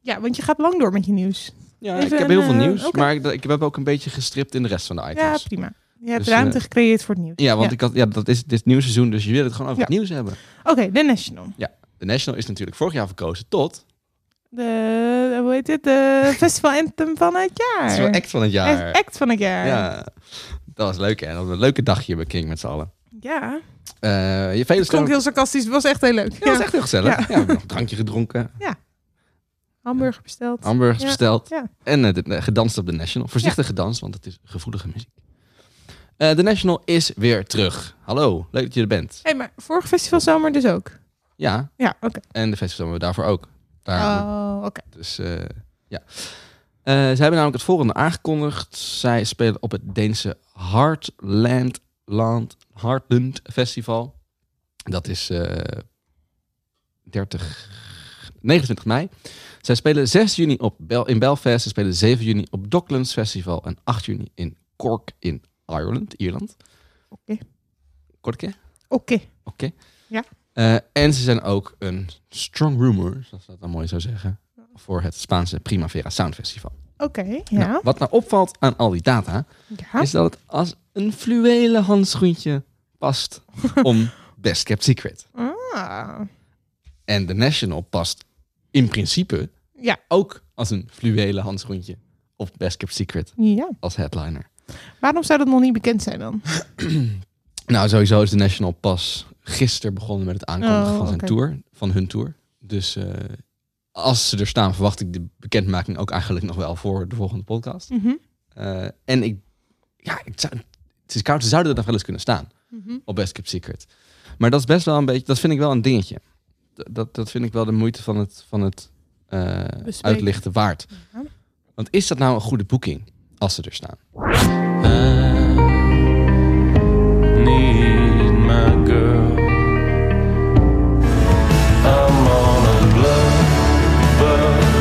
Ja, want je gaat lang door met je nieuws.
Ja,
Even
ik heb heel
een,
veel
eh,
nieuws,
oké.
maar ik, ik heb ook een beetje gestript in de rest van de
Ja,
items. Ja,
prima. Je hebt
Dus,
ruimte
eh,
gecreëerd voor het nieuws.
want Ik had, ja, dat is dit nieuw seizoen, dus je wil het gewoon over
Ja.
het nieuws hebben.
Oké, de National.
Ja, The National is natuurlijk vorig jaar verkozen tot...
De, eh, hoe heet dit? De
[laughs]
Festival Anthem van het jaar.
Het is wel act van het jaar.
Echt act van het jaar. Ja.
Ja, dat was leuk hè. Dat was een leuke dagje bij King met z'n allen.
ja.
Eh, je vele
Het klonk
stemmen-
heel sarcastisch. Het was echt heel leuk.
Ja, dat was echt heel gezellig.
Ja.
Ja, we hebben nog een drankje gedronken,
Hamburger besteld.
hamburgers
Ja,
besteld.
ja.
En eh, dit- eh, gedanst op de National. Voorzichtig gedanst, want het is gevoelige muziek. Eh, De National is weer terug. Hallo, leuk dat je er bent.
Hé, maar vorig festivalzomer dus ook.
Ja,
Ja, oké.
en de festival hebben we daarvoor ook. Daar
Oh, oké.
Dus eh, ja. Eh, ze hebben namelijk het volgende aangekondigd. Zij spelen op het Deense Heartland, Land, Heartland Festival. Dat is eh 30, 29 mei. Zij spelen 6 juni op Bel in Belfast. Ze spelen 7 juni op Docklands Festival. En 8 juni in Cork in Ireland. Ierland.
Oké.
Kortke?
Oké.
Oké.
Ja.
Eh, en ze zijn ook een strong rumor, zoals dat dan mooi zou zeggen, voor het Spaanse Primavera Sound Festival.
Oké, ja.
Nou, wat nou opvalt aan al die data,
ja.
is dat het als een fluwelen handschoentje
[laughs]
past om Best Kept Secret.
Ah.
En The National past in principe
Ja.
ook als een fluwelen handschoentje op Best Kept Secret
ja.
als headliner.
Waarom zou dat nog niet bekend zijn dan?
Nou, sowieso is The National pas gisteren begonnen met het aankondigen
Oh,
van, zijn
oké.
tour, van hun tour. Dus eh, als ze er staan, verwacht ik de bekendmaking ook eigenlijk nog wel voor de volgende podcast.
Mhm.
Eh, en ik, ja, ik zou, het is koud, ze zouden er nog wel eens kunnen staan
Mhm.
op Best Kept Secret. Maar dat is best wel een beetje, dat vind ik wel een dingetje. D- Dat, dat vind ik wel de moeite van het, van het eh, uitlichten waard. Want is dat nou een goede boeking als ze er staan?
need my girl. I'm on a blood buzz.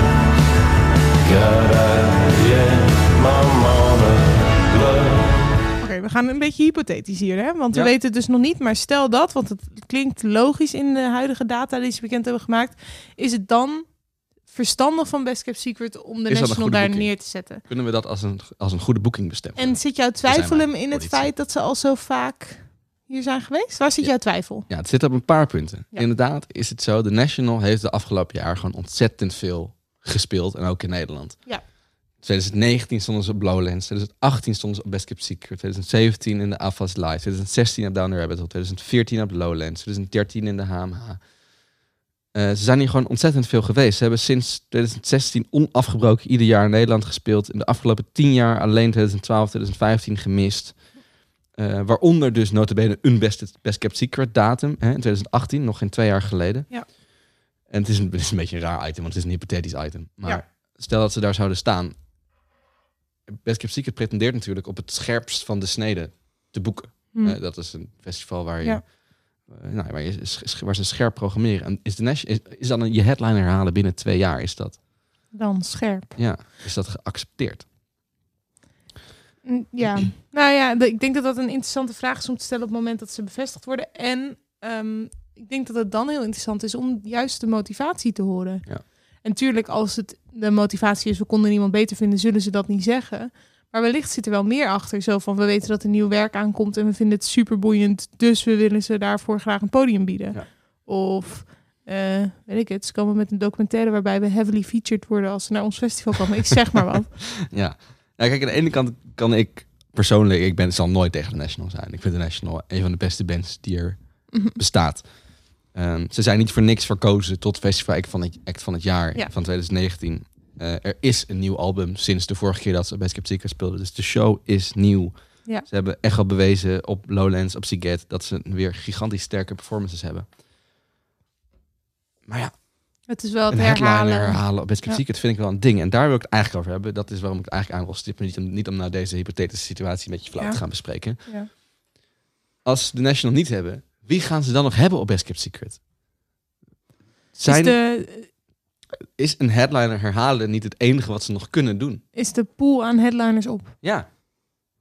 God, I, yeah, I'm on a blood
Oké, we gaan een beetje hypothetisch hier, hè? Want
Ja.
we weten het dus nog niet. Maar stel dat, want het klinkt logisch in de huidige data die ze bekend hebben gemaakt. Is het dan verstandig van Best Kept Secret
Is dat
om de
een
National
goede
daar
boeking?
neer te zetten?
Kunnen we dat als een, als een goede boeking bestemmen?
En zit jouw twijfel
zijn
hem
maar
in het
politie.
feit dat ze al zo vaak hier zijn geweest? Waar zit
Ja.
jouw twijfel?
Ja, het zit op een paar punten.
Ja.
Inderdaad is het zo. De National heeft de afgelopen jaar gewoon ontzettend veel gespeeld. En ook in Nederland.
Ja.
2019 stonden ze op Lowlands. 2018 stonden ze op Best Kept Secret. 2017 in de AFAS Live. 2016 op Down the Rabbit Hole. 2014 op Lowlands. 2013 in de HMH. Eh, ze zijn hier gewoon ontzettend veel geweest. Ze hebben sinds 2016 onafgebroken ieder jaar in Nederland gespeeld. In de afgelopen 10 jaar alleen 2012, 2015 gemist. Eh, waaronder dus notabene een best, best kept secret datum. Hè, in 2018, nog geen twee jaar geleden.
Ja.
En het is, een, het is een beetje een raar item, want het is een hypothetisch item. Maar
Ja.
stel dat ze daar zouden staan. Best kept secret pretendeert natuurlijk op het scherpst van de snede te boeken.
Hmm.
Eh, dat is een festival waar je...
Ja.
eh, nou, waar, je sch- sch- waar ze scherp programmeren. En is, de Nash, is, is dan een, je headline herhalen binnen twee jaar? Is dat,
Dan scherp.
ja, is dat geaccepteerd?
Mm,
[clears throat]
Ja, nou ja, de- ik denk dat dat een interessante vraag is om te stellen op het moment dat ze bevestigd worden. En ehm, ik denk dat het dan heel interessant is om juist de motivatie te horen.
Ja.
En natuurlijk, als het de motivatie is, we konden niemand beter vinden, zullen ze dat niet zeggen. Maar wellicht zit er wel meer achter. Zo van, we weten dat er nieuw werk aankomt en we vinden het super boeiend, dus we willen ze daarvoor graag een podium bieden.
Ja.
Of, eh, weet ik het, ze komen met een documentaire waarbij we heavily featured worden als ze naar ons festival komen. Ik zeg maar
[laughs]
wat.
Ja. Nou, kijk, aan de ene kant kan ik persoonlijk, ik ben, zal nooit tegen de National zijn. Ik vind de National een van de beste bands die er bestaat. Ehm, ze zijn niet voor niks verkozen tot Festival Act van het, Act van het jaar
Ja.
van 2019. Eh, er is een nieuw album sinds de vorige keer dat ze Best Kept Secret speelden. Dus de show is nieuw.
Ja.
Ze hebben echt al bewezen op Lowlands, op Seagate... dat ze weer gigantisch sterke performances hebben. Maar ja,
Het is wel het
een headline
herhalen.
herhalen op Best Kept
Ja.
Secret vind ik wel een ding. En daar wil ik het eigenlijk over hebben. Dat is waarom ik het eigenlijk aan wil stippen. Niet om, niet om nou deze hypothetische situatie met je flauw
Ja.
te gaan bespreken.
Ja.
Als ze de National niet hebben, wie gaan ze dan nog hebben op Best Kept Secret?
Is
Zijn,
de,
is een headliner herhalen niet het enige wat ze nog kunnen doen?
is de pool aan headliners op?
Ja.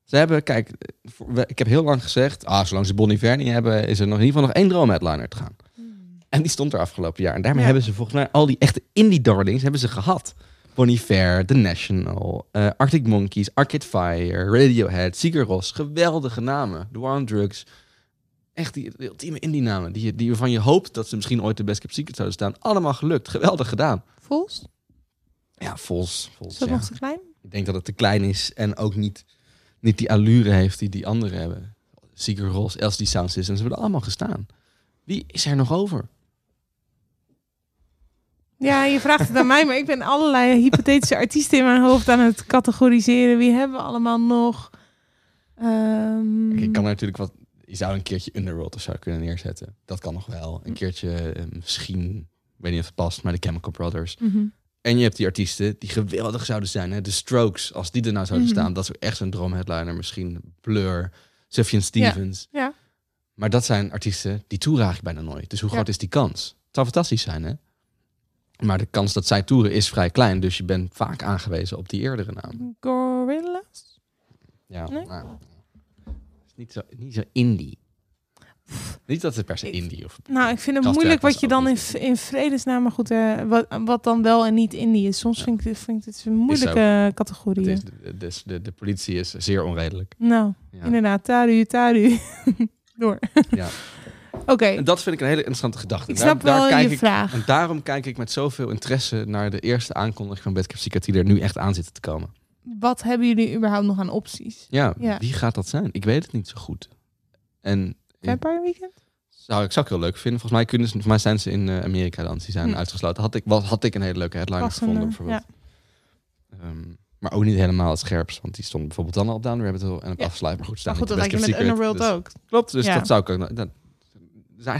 Ze hebben, kijk, eh, voor- we- ik heb heel lang gezegd, ah, zolang ze Bon Iver niet hebben, is er nog in ieder geval nog één droomheadliner te gaan. En die stond er afgelopen jaar. En daarmee
Hmm. Ja.
hebben ze volgens mij al die echte indie darlings hebben ze gehad. Bon Iver, The National, eh, Arctic Monkeys, Arcade Fire, Radiohead, Sigur Ros. Geweldige namen. The War on Drugs. Echt die, die ultieme indie namen. Die, je- die waarvan je hoopt dat ze misschien ooit de Best Kept Secret zouden staan. Allemaal gelukt. Geweldig gedaan.
Vols? Is
Ja, Vols. Vols
dat
ja.
nog te klein?
Ik denk dat het te klein is en ook niet, niet die allure heeft die die anderen hebben. Sigur Ros, LCD Sound Systems, ze hebben er allemaal gestaan. Wie is er nog over?
Ja, je vraagt het aan mij, maar ik ben allerlei hypothetische artiesten in mijn hoofd aan het categoriseren. Wie hebben we allemaal nog? Ehm,
Kijk, ik kan er natuurlijk wat... Je zou een keertje Underworld of zo kunnen neerzetten. Dat kan nog wel.
Mhm.
Een keertje eh, misschien, ik weet niet of het past, maar de Chemical Brothers.
Mhm.
En je hebt die artiesten die geweldig zouden zijn. Hè? De Strokes, als die er nou zouden
Mhm.
staan. Dat is echt zo'n droomheadliner. Misschien Blur, Sufjan Stevens.
Ja.
Maar dat zijn artiesten die toer eigenlijk bijna nooit. Dus hoe
Ja.
groot is die kans? Het zou fantastisch zijn, hè? Maar de kans dat zij toeren is vrij klein. Dus je bent vaak aangewezen op die eerdere naam.
Gorillas?
Ja,
Hm. Nee.
nou, is niet, zo, niet zo indie. Niet dat het per se
Ik-
indie of...
Nou, ik vind het
Kastwerk
moeilijk
was
wat je
ook
dan in,
niet
in vredesnaam... Maar goed, eh, wat, wat dan wel en niet indie is. Soms vind ik, dit- vind ik dit een moeilijke
Het
categorie.
is, de, dus de, de politie is zeer onredelijk.
Nou,
Ja.
inderdaad. Taru, taru. [laughs] Door.
Ja.
Oké,
En dat vind ik een hele interessante gedachte.
ik snap wel
kijk
je
ik,
vraag.
En daarom kijk ik met zoveel interesse naar de eerste aankondiging van Bedcraft Secret die er nu echt aan zit te komen.
Wat hebben jullie überhaupt nog aan opties?
Ja,
Ja.
wie gaat dat zijn? Ik weet het niet zo goed. En
Vampire Weekend?
zou, ik zou ik heel leuk vinden. Volgens mij, kunnen ze, volgens mij zijn ze in eh, Amerika dan. Die zijn
Hm.
uitgesloten. Had ik, was, had ik een hele leuke headliner
Passende,
gevonden bijvoorbeeld. Ehm, maar ook niet helemaal het scherpst. Want die stond bijvoorbeeld dan al op Down Rabbit Hill en op
Ja.
Afsluit. Maar goed, ze
Maar
staan
goed, dat
niet
lijkt
op
je met
Secret,
Underworld
dus-
ook.
Klopt, dus
Ja.
dat zou ik ook... Dat,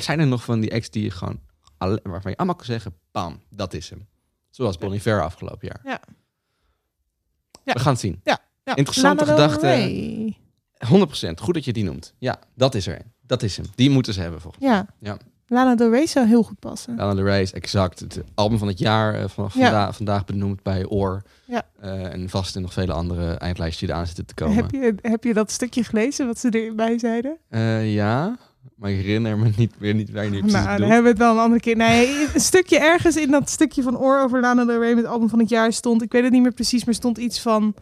zijn er nog van die acts die je gewoon... alle- Waarvan je allemaal kan zeggen, bam, dat is hem. Zoals Bonnie Fair afgelopen jaar.
Ja. Ja.
We gaan het zien.
Ja,
Interessante
Lana Del
gedachte.
Rey.
100%, goed dat je die noemt. Ja, dat is er een. Dat is hem. Die moeten ze hebben volgens
Ja.
Ja.
Lana Del Rey zou heel goed passen.
Lana Del Rey is exact het album van het jaar eh, vanaf
Ja.
vanda- vandaag benoemd bij Oor.
Ja.
Eh, en vast en nog vele andere eindlijstjes die eraan zitten te komen.
Heb je, heb je dat stukje gelezen wat ze erbij zeiden?
Eh, ja, maar ik herinner me niet meer niet waar je nu precies
nou,
bedoelt.
dan hebben we het wel een andere keer. Nee, een stukje ergens in dat stukje van Oor over Lana Del Rey met het album van het jaar stond. Ik weet het niet meer precies, maar stond iets van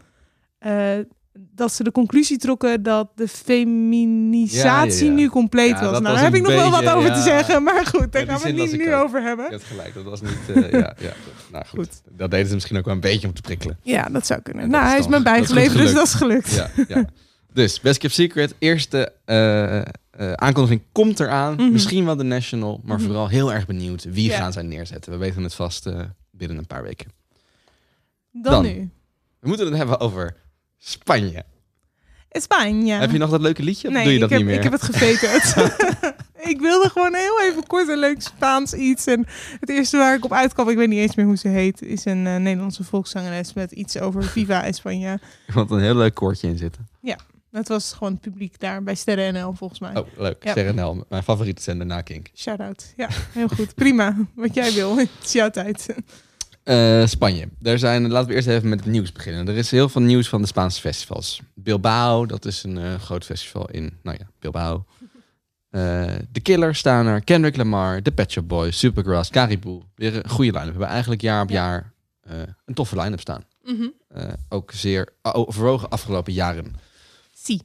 eh, dat ze de conclusie trokken dat de feminisatie
Ja, ja, ja.
nu compleet
Ja,
was.
dat
Nou,
was
daar heb
een
ik nog wel wat
beetje,
over
ja.
te zeggen, maar goed, daar
die
gaan we
zin
het
las
niet
ik
nu
ook.
over hebben.
Je hebt gelijk, dat was niet... eh, ja, ja, nou goed. Dat deden ze misschien ook wel een beetje om te prikkelen.
Ja, dat zou kunnen.
Ja, dat
nou,
is
hij is
dan-
me
dat is goed
bijgeleverd, dus
gelukt.
dat is gelukt.
Ja, ja. Dus Best Kept Secret, eerste eh, eh, aankondiging komt eraan.
Mhm.
Misschien wel de National, maar vooral heel erg benieuwd. Wie
Ja.
gaan zij neerzetten? We weten het vast eh, binnen een paar weken.
Dan,
Dan.
nu.
We moeten het hebben over Spanje.
Spanje.
Heb je nog dat leuke liedje? Of
Nee,
doe je dat
ik,
niet
heb,
meer?
ik heb het geveterd.
[laughs]
[laughs] ik wilde gewoon heel even kort een leuk Spaans iets. En het eerste waar ik op uitkwam, ik weet niet eens meer hoe ze heet, is een eh, Nederlandse volkszangeres met iets over Viva España.
[laughs] Er moet een heel leuk koortje in zitten.
Dat was gewoon het publiek daar bij Sterren NL volgens mij.
Oh, leuk.
Ja.
Sterrenel, mijn favoriete zender na Kink.
Shout-out. Ja, heel goed. Prima. Wat jij wil. [laughs] Het is jouw tijd.
Eh, Spanje. Daar zijn, laten we eerst even met het nieuws beginnen. Er is heel veel nieuws van de Spaanse festivals. Bilbao, dat is een eh, groot festival in, nou ja, Bilbao. Eh de Killers staan er, Kendrick Lamar, The Pet Shop Boys, Supergrass, Caribou. Weer een goede line-up. We hebben eigenlijk jaar op
Ja. Mhm.
jaar eh, een toffe line-up staan. Eh, ook zeer oh, overwogen afgelopen jaren.
Zie.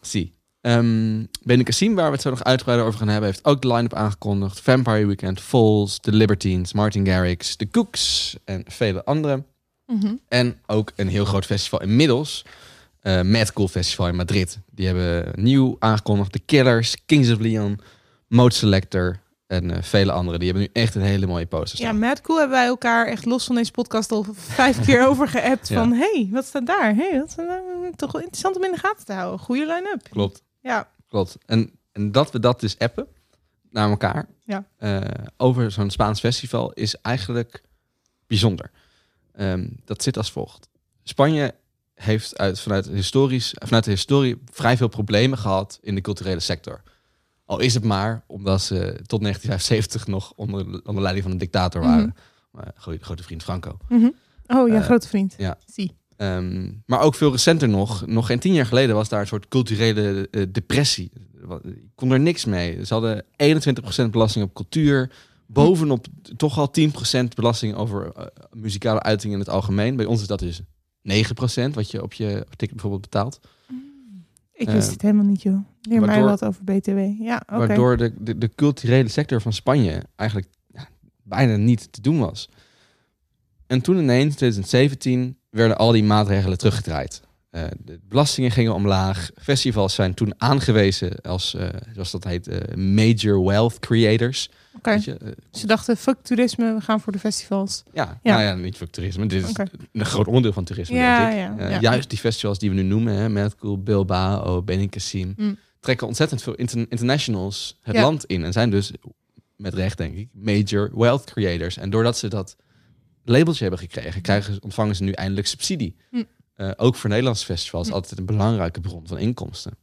Zie. Ehm Bene Cassim, waar we het zo nog uitgebreider over gaan hebben, heeft ook de line-up aangekondigd. Vampire Weekend, Falls, The Libertines, Martin Garrix, The Cooks en vele anderen.
Mhm.
En ook een heel groot festival inmiddels. eh Mad Cool Festival in Madrid. Die hebben nieuw aangekondigd. The Killers, Kings of Leon, Mode Selector en eh, vele anderen. Die hebben nu echt een hele mooie poster
Ja,
staan.
Mad Cool hebben wij elkaar echt los van deze podcast al vijf
[laughs]
keer over geappt.
Ja.
Van, hey, wat staat daar? hey, dat is eh, toch wel interessant om in de gaten te houden. Goede line-up.
Klopt.
Ja.
Klopt. En, en dat we dat dus appen naar elkaar
Ja.
eh, over zo'n Spaans festival is eigenlijk bijzonder. Ehm, dat zit als volgt. Spanje heeft uit, vanuit, historisch, vanuit de historie vrij veel problemen gehad in de culturele sector. Al is het maar omdat ze tot 1975 nog onder, onder leiding van een dictator waren. Maar goeie- grote vriend Franco.
Oh, ja,
Eh,
grote vriend.
ja.
Zie.
Ehm, maar ook veel recenter nog, nog geen tien jaar geleden, was daar een soort culturele eh, depressie. Wat- Ik kon er niks mee. Ze hadden 21% belasting op cultuur, bovenop toch al 10% belasting over eh, muzikale uitingen in het algemeen. Bij ons is dat dus 9% wat je op je ticket bijvoorbeeld betaalt.
Ik
eh,
wist het helemaal niet, joh. Leer mij
waardoor-
wat over BTW. Ja, oké.
Waardoor de, de, de culturele sector van Spanje eigenlijk ja, bijna niet te doen was. En toen ineens, 2017, werden al die maatregelen teruggedraaid. Eh, de belastingen gingen omlaag. Festivals zijn toen aangewezen als, eh, zoals dat heet, eh, major wealth creators.
Oké.
Weet je, eh,
Ze dachten, fuck toerisme, we gaan voor de festivals.
ja,
Ja.
nou ja, niet voor toerisme. Dit is
Oké.
een groot onderdeel van toerisme,
Ja,
denk ik.
ja,
Eh,
ja.
Juist die festivals die we nu noemen, hè, Madcool, Bilbao, Benicassim,
Mm.
trekken ontzettend veel inter- internationals het
Ja.
land in. En zijn dus, met recht denk ik, major wealth creators. En doordat ze dat labeltje hebben gekregen, krijgen, ze- ontvangen ze nu eindelijk subsidie.
Mm.
Eh, ook voor Nederlandse festivals altijd een belangrijke bron van inkomsten.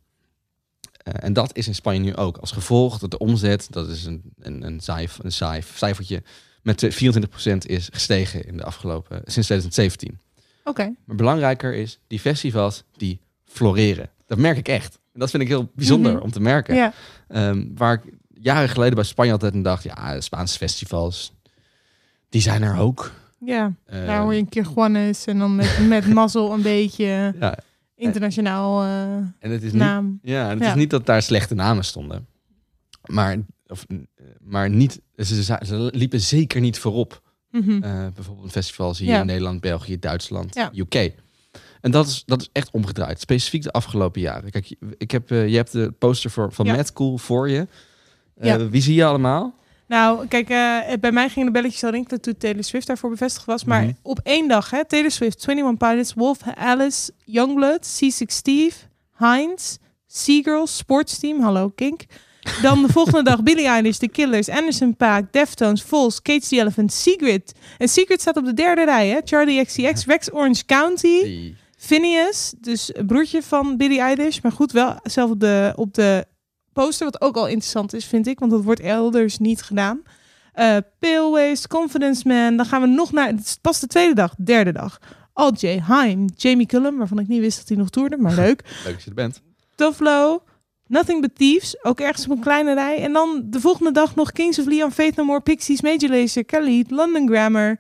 Eh, en dat is in Spanje nu ook. Als gevolg dat de omzet, dat is een, een, een, cijf, een cijf, cijfertje, met 24% is gestegen in de afgelopen, sinds 2017.
Oké.
Maar belangrijker is, die festivals die floreren. Dat merk ik echt. En dat vind ik heel bijzonder
Mhm.
om te merken.
Ja.
Ehm, waar ik jaren geleden bij Spanje altijd een dacht, ja, Spaanse festivals, die zijn er ook.
Ja.
Ehm,
Daar hoor je een keer Juanes en dan met, met mazzel een beetje
ja,
internationaal eh,
en het is niet,
naam.
ja, en het
Ja.
is niet dat daar slechte namen stonden. Maar, of, eh, maar niet, ze, ze- ze liepen zeker niet voorop.
Mhm.
Eh, bijvoorbeeld een festivals hier
Ja.
in Nederland, België, Duitsland,
Ja.
UK. En dat is, dat is echt omgedraaid. Specifiek de afgelopen jaren. Kijk, je- ik heb, eh, je hebt de poster voor, van
Ja.
Mad Cool voor je. Eh,
Ja.
Wie zie je allemaal?
Nou, kijk, eh, bij mij gingen de belletjes al rinkelen toen Taylor Swift daarvoor bevestigd was. Maar
Mhm.
op één dag, hè, Taylor Swift, 21 Pilots, Wolf, Alice, Youngblood, C6 Steve, Heinz, Seagirls, Sportsteam, hallo Kink. Dan de volgende dag Billie Eilish, The Killers, Anderson Paak, Deftones, Vols, Cage the Elephant, Secret. En Secret staat op de derde rij, hè. Charlie XCX, Rex Orange County. Phineas, dus broertje van Billie Eilish, maar goed, wel zelf op de, op de poster, wat ook al interessant is, vind ik, want dat wordt elders niet gedaan. Eh Pale Waste, Confidence Man, dan gaan we nog naar, het is pas de tweede dag, derde dag. Al J. Heim, Jamie Cullum, waarvan ik niet wist dat hij nog toerde, maar leuk.
Leuk dat je er bent.
Tovlo, Nothing But Thieves, ook ergens op een kleine rij. En dan de volgende dag nog Kings of Leon, Faith No More, Pixies, Major Lazer, Khalid, London Grammar.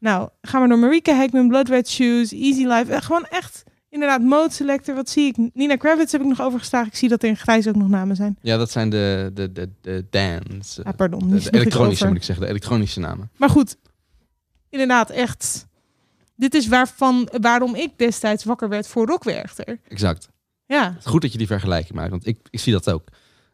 Nou, gaan we door Marika Heckman, Blood Red Shoes, Easy Life. Eh, Gewoon echt, inderdaad, Mode Selector, wat zie ik? Nina Kravitz heb ik nog overgeslagen. Ik zie dat er in grijs ook nog namen zijn.
Ja, dat zijn de, de, de, de dance.
Ah, pardon.
de,
die
de
sloeg ik
elektronische
over.
moet ik zeggen. De elektronische namen.
Maar goed, inderdaad, echt. Dit is waarvan, waarom ik destijds wakker werd voor Rockwerchter.
Exact.
Ja,
Goed dat je die vergelijking maakt, want ik, ik zie dat ook.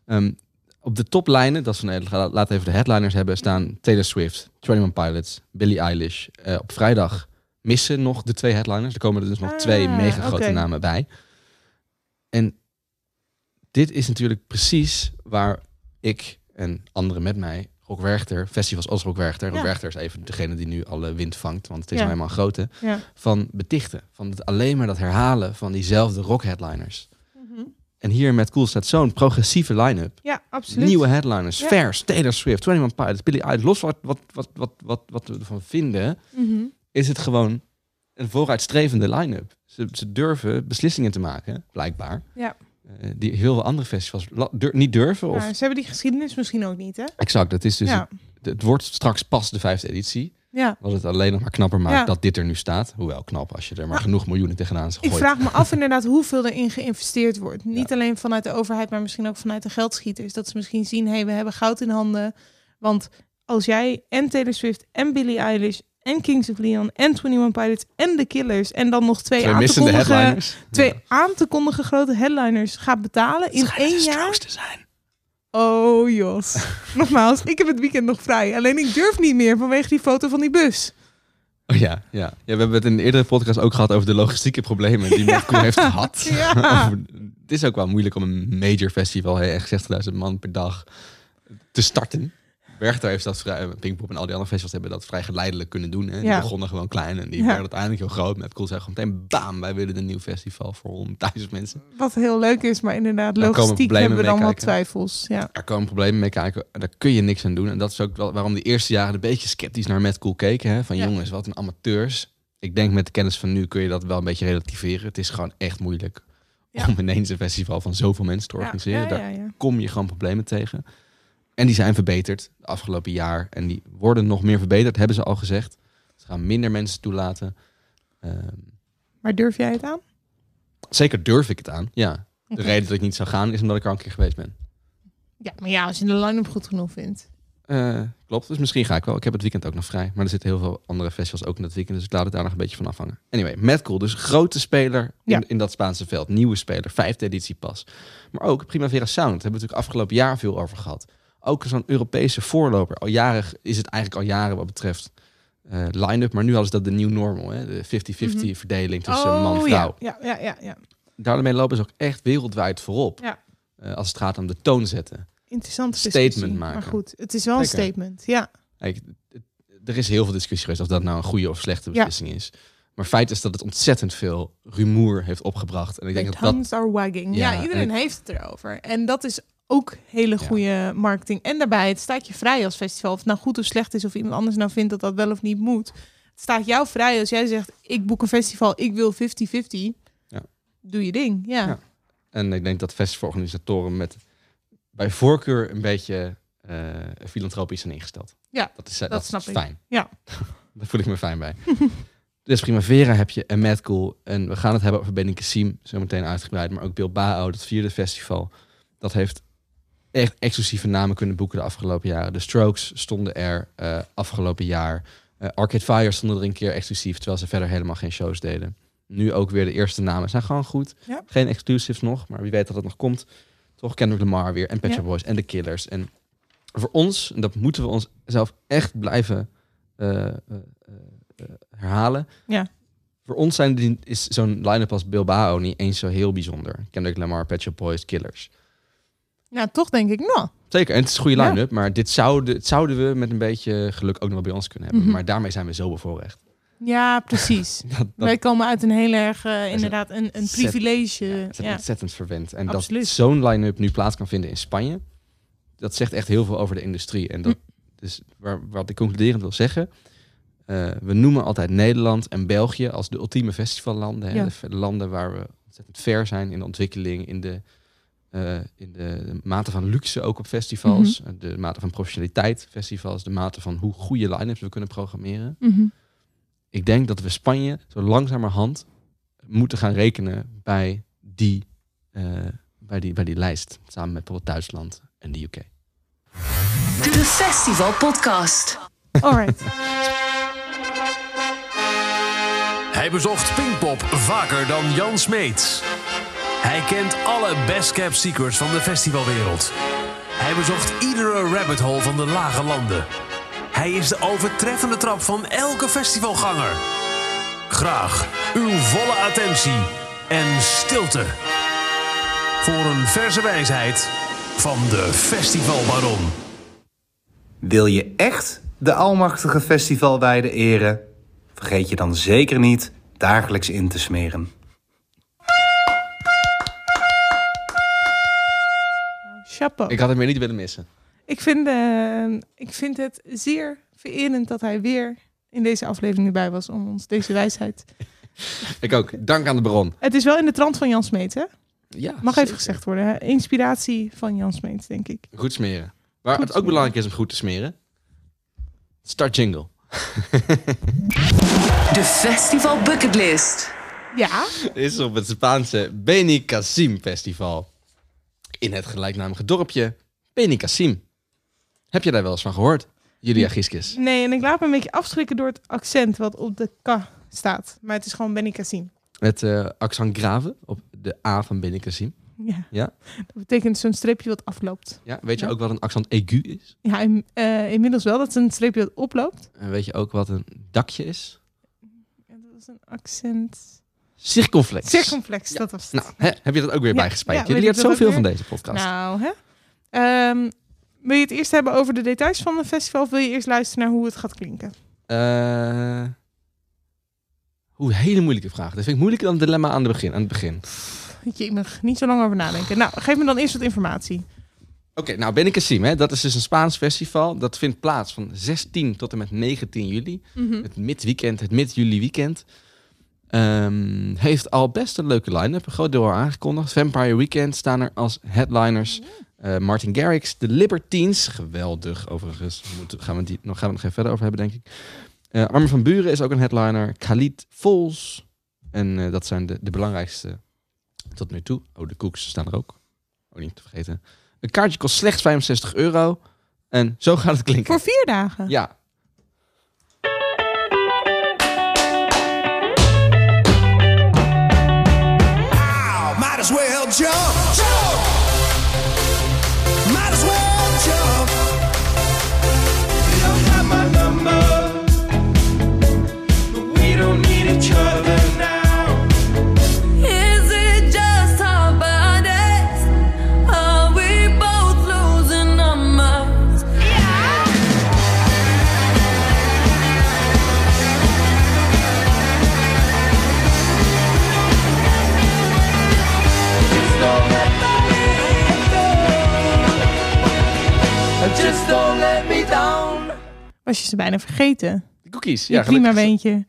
Ehm, op de toplijnen, dat is van, eh, la- laten we even de headliners hebben, staan Taylor Swift, 21 Pilots, Billie Eilish. Eh, op vrijdag missen nog de twee headliners. Er komen er dus nog
Ah,
twee mega grote
oké.
namen bij. En dit is natuurlijk precies waar ik en anderen met mij, Rock Werchter, festivals als Rock Werchter, Rock
Ja.
Werchter is even degene die nu alle wind vangt, want het is
Ja.
nou helemaal een grote,
ja.
van betichten. Van het, alleen maar dat herhalen van diezelfde rock headliners. En hier met Cool staat zo'n progressieve line-up.
ja absoluut.
Nieuwe headliners,
Ja.
vers, Taylor Swift, 21 Pilots, Billy Idol. Los wat, wat, wat, wat, wat, wat we ervan vinden,
Mhm.
is het gewoon een vooruitstrevende line-up. Ze, ze durven beslissingen te maken, blijkbaar.
Ja.
Eh, die heel veel andere festivals la- dur- niet durven. Of...
Maar ze hebben die geschiedenis misschien ook niet, hè?
Exact, het, is dus
ja.
het, het wordt straks pas de vijfde editie.
ja.
Wat het alleen nog maar knapper maakt
Ja.
dat dit er nu staat. Hoewel knap, als je er maar genoeg miljoenen tegenaan
Ik
gooit.
vraag me af inderdaad hoeveel erin geïnvesteerd wordt. Niet alleen vanuit de overheid, maar misschien ook vanuit de geldschieters. Dat ze misschien zien, hé, hey, we hebben goud in handen. Want als jij en Taylor Swift en Billie Eilish en Kings of Leon en 21 Pilots en The Killers... en dan nog twee,
Twee
aan te,
missende
kondigen,
headliners.
twee aan te kondigen grote headliners gaat betalen in één
dus
jaar...
te zijn.
Oh,
[laughs]
Jos. Nogmaals, ik heb het weekend nog vrij. Alleen ik durf niet meer vanwege die foto van die bus.
Oh ja, ja. ja, we hebben het in een eerdere podcast ook gehad over de logistieke problemen
[laughs]
die Madcool heeft gehad.
Ja.
Over- het is ook wel moeilijk om een major festival, hè, echt 60.000 man per dag, te starten. Werchter heeft dat vrij, Pinkpop en al die andere festivals hebben dat vrij geleidelijk kunnen doen. Hè. Die
Ja.
begonnen gewoon klein en die
Ja.
werden uiteindelijk heel groot. Met Cool zei gewoon meteen, bam, wij willen een nieuw festival voor 100.000 mensen.
Wat heel leuk is, maar inderdaad,
Daar komen
logistiek
problemen
hebben we dan
mee
wat
kijken.
twijfels. Ja.
Er komen problemen mee kijken, daar kun je niks aan doen. En dat is ook wel waarom de eerste jaren een beetje sceptisch naar Mad Cool keken. Hè? Van
Ja.
jongens, wat een amateurs. Ik denk met de kennis van nu kun je dat wel een beetje relativeren. Het is gewoon echt moeilijk
Ja.
om ineens een festival van zoveel mensen te
Ja,
organiseren.
ja, ja,
Daar
ja.
kom je gewoon problemen tegen. En die zijn verbeterd de afgelopen jaar. En die worden nog meer verbeterd, hebben ze al gezegd. Ze gaan minder mensen toelaten. Ehm,
Maar durf jij het aan?
zeker durf ik het aan, ja. De reden dat ik niet zou gaan is omdat ik er al een keer geweest ben.
Ja, maar ja, als je de line-up goed genoeg vindt.
Eh, klopt, dus misschien ga ik wel. Ik heb het weekend ook nog vrij. Maar er zitten heel veel andere festivals ook in dat weekend. Dus ik laat het daar nog een beetje van afhangen. Anyway, Madcool, dus grote speler in,
Ja.
in dat Spaanse veld. Nieuwe speler, vijfde editie pas. Maar ook Primavera Sound, daar hebben we natuurlijk afgelopen jaar veel over gehad. Ook zo'n Europese voorloper. Al jaren is het eigenlijk al jaren wat betreft eh line-up. Maar nu hadden ze dat de new normal, hè? de 50-50 verdeling tussen man en vrouw.
Mhm. Oh, Ja, ja, ja, ja.
Daarmee lopen ze ook echt wereldwijd voorop.
Ja.
Eh, als het gaat om de toon zetten.
Interessante
Statement
discussie.
maken.
Maar goed, het is wel
Zeker.
een statement. Ja,
Kijk, het- er is heel veel discussie geweest of dat nou een goede of slechte
Ja.
beslissing is. Maar feit is dat het ontzettend veel rumoer heeft opgebracht. En ik denk
de
dat dat.
tongues are wagging. Ja,
Ja,
iedereen
en
heeft het erover. En dat is ook hele goede marketing. En daarbij, het staat je vrij als festival. Of het nou goed of slecht is, of iemand anders nou vindt dat dat wel of niet moet. Het staat jou vrij als jij zegt, ik boek een festival, ik wil 50-50.
Ja.
Doe je ding, ja.
Ja. En ik denk dat festivalorganisatoren met bij voorkeur een beetje eh, filantropisch zijn ingesteld.
Ja,
dat is, eh, dat
snap
is
ik.
fijn.
Ja.
[laughs] Daar voel ik me fijn bij. [laughs] dus Primavera heb je en Mad Cool. En we gaan het hebben over Benin Kassim, zometeen uitgebreid. Maar ook Bilbao, dat vierde festival. Dat heeft echt exclusieve namen kunnen boeken de afgelopen jaren. De Strokes stonden er eh, afgelopen jaar. Eh, Arcade Fire stonden er een keer exclusief, terwijl ze verder helemaal geen shows deden. Nu ook weer de eerste namen zijn gewoon goed.
Ja.
Geen exclusives nog, maar wie weet dat het nog komt. Toch Kendrick Lamar weer en Pet
Ja.
Shop Boys en The Killers. En voor ons, en dat moeten we onszelf echt blijven eh, eh, eh, herhalen.
Ja.
Voor ons zijn die, is zo'n line-up als Bilbao niet eens zo heel bijzonder. Kendrick Lamar, Pet Shop Boys, Killers.
Nou, toch denk ik, nou,
Zeker, en het is een goede
Ja.
line-up, maar dit zouden, het zouden we met een beetje geluk ook nog wel bij ons kunnen hebben.
Mhm.
Maar daarmee zijn we zo bevoorrecht.
ja, precies.
[laughs] Dat, dat
Wij komen uit een heel erg, eh, inderdaad, een, een
set-
privilege.
ja,
Ja,
het is ontzettend verwend. En
Absoluut.
dat zo'n line-up nu plaats kan vinden in Spanje, dat zegt echt heel veel over de industrie. En dat,
Hm.
dus waar, wat ik concluderend wil zeggen, eh, we noemen altijd Nederland en België als de ultieme festivallanden. Hè?
Ja.
De v- landen waar we ontzettend ver zijn in de ontwikkeling, in de, eh, in de mate van luxe ook op festivals,
Mhm.
Eh, de mate van professionaliteit festivals, de mate van hoe goede line-ups we kunnen programmeren
Mhm.
ik denk dat we Spanje zo langzamerhand moeten gaan rekenen bij die, eh, bij die, bij die lijst. Samen met bijvoorbeeld Duitsland en de UK.
De Festival Podcast.
Alright.
[laughs]
Hij bezocht Pinkpop vaker dan Jan Smeets. Hij kent alle best kept secrets van de festivalwereld. Hij bezocht iedere rabbit hole van de lage landen. Hij is de overtreffende trap van elke festivalganger. Graag uw volle attentie en stilte. Voor een verse wijsheid van de festivalbaron.
Wil je echt de almachtige festivalweide eren? Vergeet je dan zeker niet dagelijks in te smeren.
Chapeau.
Ik had hem weer niet willen missen.
Ik vind, eh, ik vind het zeer vererend dat hij weer in deze aflevering erbij was om ons deze wijsheid.
Ik ook. Dank aan de bron.
Het is wel in de trant van Jan Smeet, hè?
Ja,
Mag
zeker.
even gezegd worden. Hè? Inspiratie van Jan Smeet, denk ik.
Goed smeren. Waar
Goed
het ook belangrijk is om goed te smeren. Start jingle.
De Festival Bucketlist.
Ja,
is op het Spaanse Benicassim Festival. In het gelijknamige dorpje Benicassim. Heb je daar wel eens van gehoord? Julia Giskes.
nee, en ik laat me een beetje afschrikken door het accent wat op de K staat. Maar het is gewoon Benny Cassim.
Met eh, accent grave op de A van Benicassim.
Ja.
Ja.
Dat betekent zo'n streepje wat afloopt.
Ja, weet je
Ja.
ook wat een accent aigu is?
Ja, in- eh, inmiddels wel. Dat is een streepje dat oploopt.
En weet je ook wat een dakje is?
Ja, dat is een accent.
Circumflex.
Circumflex, dat was het.
nou, hè, heb je dat ook weer
Ja,
bijgespijt?
ja,
Jullie
weet
leert
ik dat
zoveel
ook
van deze podcast.
Nou, hè? Ehm, wil je het eerst hebben over de details van het festival? Of wil je eerst luisteren naar hoe het gaat klinken? [laughs]
Eh, hoe hele moeilijke vraag. Dat vind ik moeilijker dan het dilemma aan, de begin, aan het begin. Oké,
Je mag niet zo lang over nadenken. Nou, geef me dan eerst wat informatie.
nou ben ik Sim, hè? Dat is dus een Spaans festival. Dat vindt plaats van 16 tot en met 19 juli.
Hm?
Het midweekend, het mid-juli weekend. Ehm, heeft al best een leuke line-up. Een groot deel al aangekondigd. Vampire Weekend staan er als headliners. Eh, Martin Garrix, The Libertines. Geweldig overigens. We Moeten, gaan, we die, nog, gaan we het nog even verder over hebben, denk ik. Eh Armin van Buren is ook een headliner. Khalid Vols. En eh, dat zijn de, de belangrijkste tot nu toe. Oh, de Cooks staan er ook. Ook niet te vergeten. Een kaartje kost slechts 65 euro. En zo gaat het klinken.
Voor vier dagen.
Ja.
Might as well jump. Jump. Might as well jump. You don't have my number, but we don't need each other now.
Is it just our bodies? Are we both losing our minds?
It's the
was je ze bijna vergeten.
De cookies.
Ja,
Ja,
prima
gelukkig.
beentje.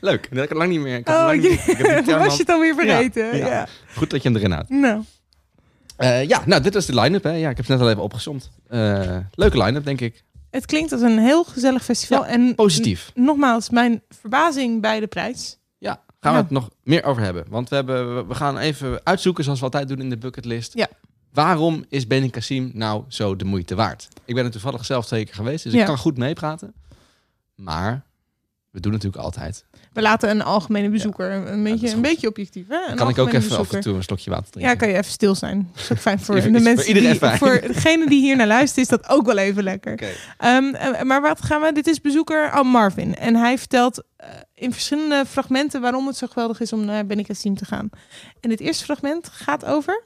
Leuk. Dat heb ik al lang niet meer. Ik had
Oh,
lang
je-
niet- ik heb
[laughs]
die term
was
al-
je het alweer vergeten?
Ja,
Ja.
Goed dat je hem erin houdt.
Nou,
Eh, ja, nou, dit was de line-up. Hè. Ja, ik heb ze net al even opgezomd. Eh, leuke line-up, denk ik.
het klinkt als een heel gezellig festival. en
Positief.
n- nogmaals, mijn verbazing bij de prijs.
Ja, gaan we
Ja.
het nog meer over hebben. Want we, hebben, we- we gaan even uitzoeken, zoals we altijd doen in de bucketlist.
Ja.
Waarom is Benin Kassim nou zo de moeite waard? Ik ben er toevallig zelf twee keer geweest, dus
Ja.
ik kan goed meepraten. Maar we doen natuurlijk altijd.
We laten een algemene bezoeker een, beetje,
is
een
goed.
beetje objectief. Hè? Een
kan ik ook
algemene
even af
bezoeker.
en toe een slokje water drinken.
Ja, kan je even stil zijn. Dat is ook
[laughs]
fijn voor
Is-
de
is voor
mensen.
iedereen
die,
fijn.
Voor degene die hier naar luistert, is dat ook wel even lekker.
Oké.
Ehm, eh, maar wat gaan we? Dit is bezoeker oh, Marvin. En hij vertelt eh, in verschillende fragmenten waarom het zo geweldig is om naar Benny Cassim te gaan. En het eerste fragment gaat over.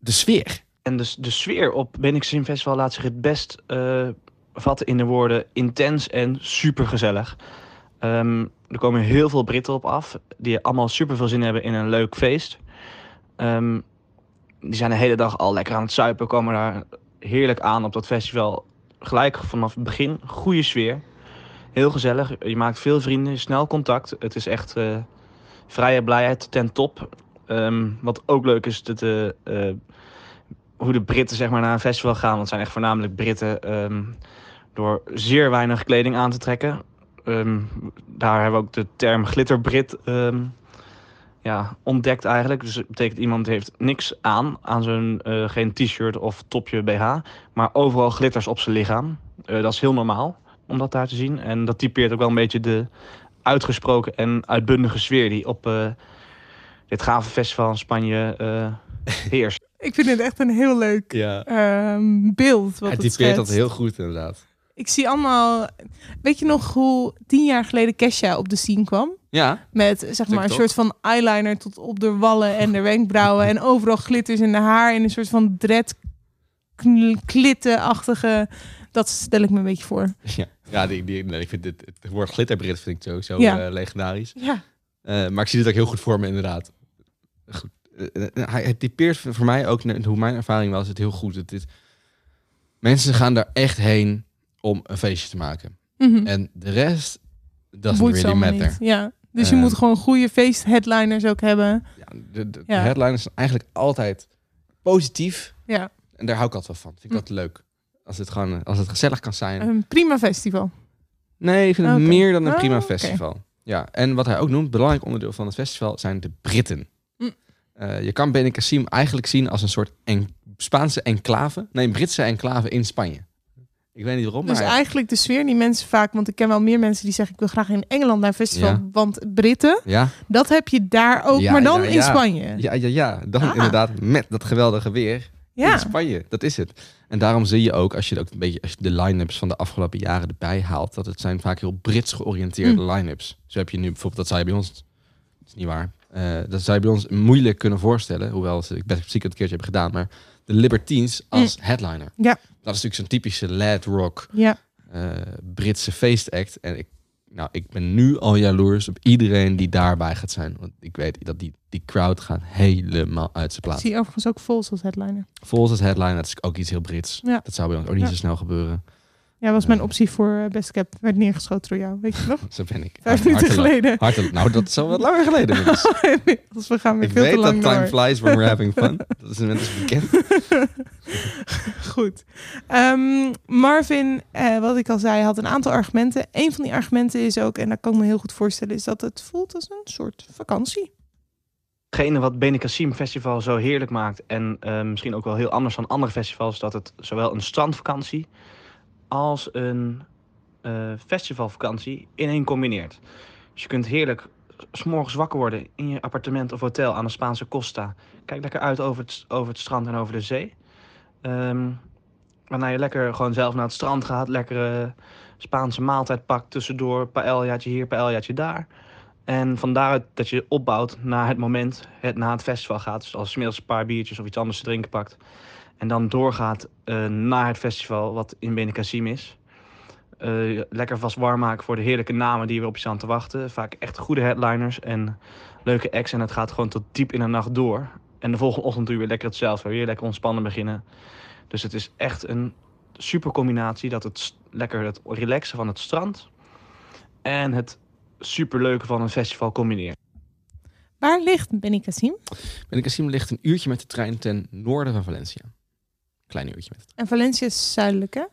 De sfeer.
En de, de sfeer op Benningsim Festival laat zich het best eh, vatten in de woorden intens en supergezellig. Ehm er komen heel veel Britten op af, die allemaal super veel zin hebben in een leuk feest. Ehm, die zijn de hele dag al lekker aan het zuipen, komen daar heerlijk aan op dat festival. Gelijk vanaf het begin, goede sfeer. Heel gezellig, je maakt veel vrienden, snel contact. Het is echt eh, vrije blijheid ten top. Ehm, wat ook leuk is, dat de eh, hoe de Britten zeg maar, naar een festival gaan. Want het zijn echt voornamelijk Britten. ehm, door zeer weinig kleding aan te trekken. Ehm, daar hebben we ook de term glitterbrit ehm ja, ontdekt eigenlijk. Dus dat betekent iemand heeft niks aan. Aan zo'n eh, geen t-shirt of topje BH. Maar overal glitters op zijn lichaam. Eh, dat is heel normaal om dat daar te zien. En dat typeert ook wel een beetje de uitgesproken en uitbundige sfeer die op eh, dit gave festival in Spanje eh, heerst.
Ik vind het echt een heel leuk
Ja.
ehm, beeld. Wat
Hij
het
typeert dat
schetst.
heel goed, inderdaad.
Ik zie allemaal. Weet je nog hoe tien jaar geleden Kesha op de scene kwam?
Ja,
Met zeg maar een
TikTok.
soort van eyeliner tot op de wallen en de wenkbrauwen. en overal glitters in de haar. En een soort van dread kn- klittenachtige. Dat stel ik me een beetje voor. [laughs]
ja. ja die, die, nee, ik vind dit, het woord glitterbrit vind ik sowieso
Ja.
eh, legendarisch.
Ja.
Eh, maar ik zie dit ook heel goed voor me, inderdaad. Goed. Eh, eh, hij, het typeert voor voor mij ook, net hoe mijn ervaring was, het heel goed. Het, is- mensen gaan daar echt heen om een feestje te maken. En de rest, doesn't
Mhm. Hm. Boeit ze
really
allemaal
matter.
niet. Ja. Dus je
Eh.
moet gewoon goede feestheadliners ook hebben.
Ja, de, de, de
Ja.
headliners zijn eigenlijk altijd positief.
Ja.
En daar hou ik altijd wel van. Vind ik dat leuk. Als het, gewoon, eh, als het gezellig kan zijn.
Hm. Een prima festival.
Nee, ik vind het
Oké.
meer dan een
Ah,
prima
oké.
festival. Ja, en wat hij ook noemt, belangrijk onderdeel van het festival zijn de Britten.
Mm.
Eh, je kan Benicassim eigenlijk zien als een soort en Spaanse enclave, nee, een Britse enclave in Spanje. Ik weet niet waarom,
Dus
maar
eigenlijk de sfeer die mensen vaak... Want ik ken wel meer mensen die zeggen... ik wil graag in Engeland naar een festival.
Ja.
Want Britten,
ja,
dat heb je daar ook.
Ja,
maar dan
ja,
in
ja.
Spanje.
ja, ja, ja, dan
Ah.
inderdaad met dat geweldige weer in
Ja.
Spanje. Dat is het. En daarom zie je ook, als je, ook een beetje, als je de line-ups van de afgelopen jaren erbij haalt, dat het zijn vaak heel Brits georiënteerde
Mm.
line-ups. Zo heb je nu bijvoorbeeld, dat zou je bij ons, dat is niet waar, Eh, dat zou je bij ons moeilijk kunnen voorstellen, hoewel ze, ik best zeker het een keertje heb gedaan, maar de Libertines als headliner.
Mm. Ja.
Dat is natuurlijk zo'n typische lad rock
Ja.
eh, Britse feestact. En ik, nou, ik ben nu al jaloers op iedereen die daarbij gaat zijn. Want ik weet dat die, die crowd gaat helemaal uit zijn
Ik
plaats.
zie overigens ook Vols als headliner.
Volgens het headline, dat is ook iets heel Brits.
Ja.
Dat zou bij ons ook niet
Ja.
zo snel gebeuren.
Ja, was mijn optie voor eh, Best Cap. Werd neergeschoten door jou, weet je nog?
Zo ben ik.
Vijf minuten
Hartelijk-
geleden.
hartelijk- nou, dat is al wat langer geleden.
[laughs]
inmiddels.
Als we gaan weer
ik
veel
weet
te
dat
lang
time
door.
flies when we're having fun. Dat is inmiddels bekend.
[laughs] Goed. Ehm, Marvin, eh, wat ik al zei, had een aantal argumenten. Een van die argumenten is ook, en dat kan ik me heel goed voorstellen, is dat het voelt als een soort vakantie.
Hetgene wat Bene Kassim Festival zo heerlijk maakt en eh, misschien ook wel heel anders dan andere festivals, dat het zowel een strandvakantie als een eh, festivalvakantie in één combineert. Dus je kunt heerlijk s morgens wakker worden in je appartement of hotel aan de Spaanse Costa. Kijk lekker uit over het, over het strand en over de zee. Ehm, waarna je lekker gewoon zelf naar het strand gaat, lekkere Spaanse maaltijd pakt tussendoor, paeljaatje hier, paeljaatje daar. En van daaruit dat je opbouwt naar het moment, het, na het festival gaat. Dus als smiddags een paar biertjes of iets anders te drinken pakt. En dan doorgaat eh, naar het festival, wat in Benekassim is. Eh, lekker vast warm maken voor de heerlijke namen die we op je staan te wachten. Vaak echt goede headliners en leuke acts. En het gaat gewoon tot diep in de nacht door. En de volgende ochtend doe je weer lekker hetzelfde. Weer lekker ontspannen beginnen. Dus het is echt een super combinatie dat het s- lekker het relaxen van het strand en het superleuke van een festival combineert.
Waar ligt Benny Kassim?
En Cassim ligt een uurtje met de trein ten noorden van Valencia. Klein uurtje met de trein.
En Valencia is zuidelijk, hè?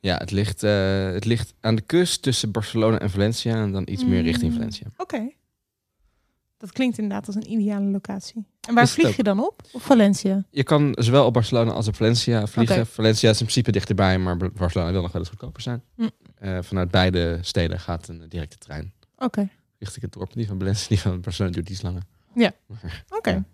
Ja, het ligt, eh, het ligt aan de kust tussen Barcelona en Valencia. En dan iets meer
Mm.
richting Valencia.
Oké. Dat klinkt inderdaad als een ideale locatie. En waar
Is het
vlieg
ook.
je dan op? Op Valencia?
Je kan zowel op Barcelona als op Valencia vliegen.
Oké.
Valencia is in principe dichterbij, maar Bar- Barcelona wil nog wel eens goedkoper zijn.
Mm.
Eh, vanuit beide steden gaat een directe trein.
Oké.
Richting het dorp. Die van Valencia, die van Barcelona duurt iets langer.
Ja. Oké.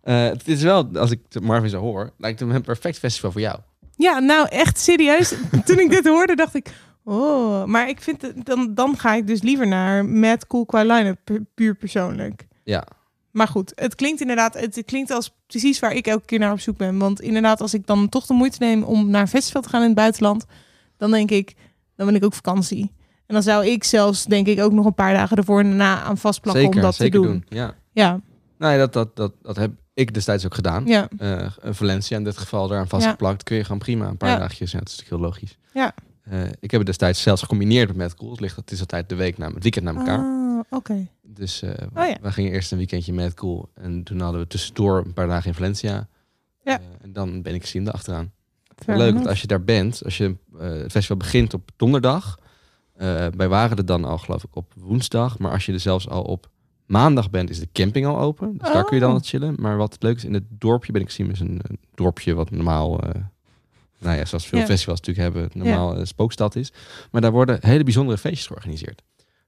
Eh, het is wel, als ik de Marvin zo hoor, lijkt het me een perfect festival voor jou.
Ja, nou echt serieus. Toen ik dit hoorde, dacht ik. Oh, maar ik vind het- dan, dan ga ik dus liever naar met Cool qua line-up, pu- puur persoonlijk.
Ja.
Maar goed, het klinkt inderdaad, het klinkt als precies waar ik elke keer naar op zoek ben. Want inderdaad, als ik dan toch de moeite neem om naar een festival te gaan in het buitenland, dan denk ik, dan ben ik ook vakantie. En dan zou ik zelfs, denk ik, ook nog een paar dagen ervoor en daarna aan vastplakken
zeker,
om dat
zeker
te doen.
Ja.
Ja,
Nou ja, dat, dat, dat, dat heb ik destijds ook gedaan.
Ja.
Eh, Valencia in dit geval daaraan vastgeplakt. Kun je gewoon prima een paar
Ja.
dagjes. Ja, dat is natuurlijk heel logisch.
ja.
Eh, ik heb het destijds zelfs gecombineerd met Mad Cool. Het ligt dat is altijd de week na, het weekend na elkaar.
Ah, oké.
Dus eh
Oh ja.
we gingen eerst een weekendje met Cool. En toen hadden we tussendoor een paar dagen in Valencia.
Ja.
Eh, en dan ben ik Sinde achteraan.
Fair
Leuk, want
enough.
als je daar bent, als je eh, het festival begint op donderdag. eh, wij waren er dan al, geloof ik, op woensdag. Maar als je er zelfs al op maandag bent, is de camping al open. Dus daar kun je dan
Oh.
wat chillen. Maar wat leuk is, in het dorpje ben ik zien, is een, een dorpje wat normaal. eh, nou ja, zoals veel
Ja.
festivals natuurlijk hebben, normaal een spookstad is. Maar daar worden hele bijzondere feestjes georganiseerd.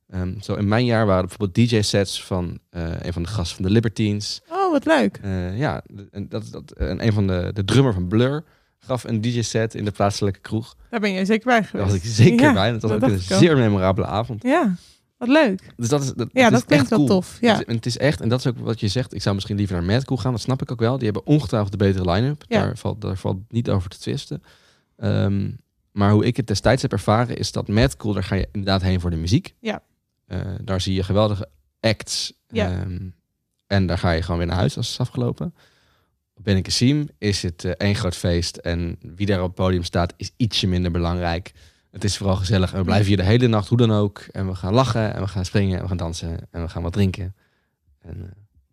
Ehm, zo in mijn jaar waren er bijvoorbeeld DJ-sets van eh, een van de gasten van de Libertines.
Oh, wat leuk.
Eh, ja, en, dat, dat, eh, en een van de, de drummer van Blur gaf een DJ-set in de plaatselijke kroeg.
Daar ben jij zeker bij
Daar
geweest.
was ik zeker
Ja,
bij. Dat was ook
dacht
een
ik al.
zeer memorabele avond.
Ja, wat leuk.
Dus dat is, dat,
Ja,
het
dat
is
klinkt
echt
wel
cool.
tof, ja.
Het is- en het is echt, en dat is ook wat je zegt, ik zou misschien liever naar Madcool gaan, dat snap ik ook wel. Die hebben ongetwijfeld de betere line-up.
Ja.
Daar, valt, daar valt niet over te twisten. Ehm, maar hoe ik het destijds heb ervaren, is dat Madcool, daar ga je inderdaad heen voor de muziek.
Ja.
Eh, daar zie je geweldige acts.
Ja.
Ehm, en daar ga je gewoon weer naar huis als het is afgelopen. Op Ben is het eh, één groot feest. En wie daar op het podium staat, is ietsje minder belangrijk. Het is vooral gezellig. En we blijven hier de hele nacht, hoe dan ook. En we gaan lachen, en we gaan springen, en we gaan dansen, en we gaan wat drinken. En, eh,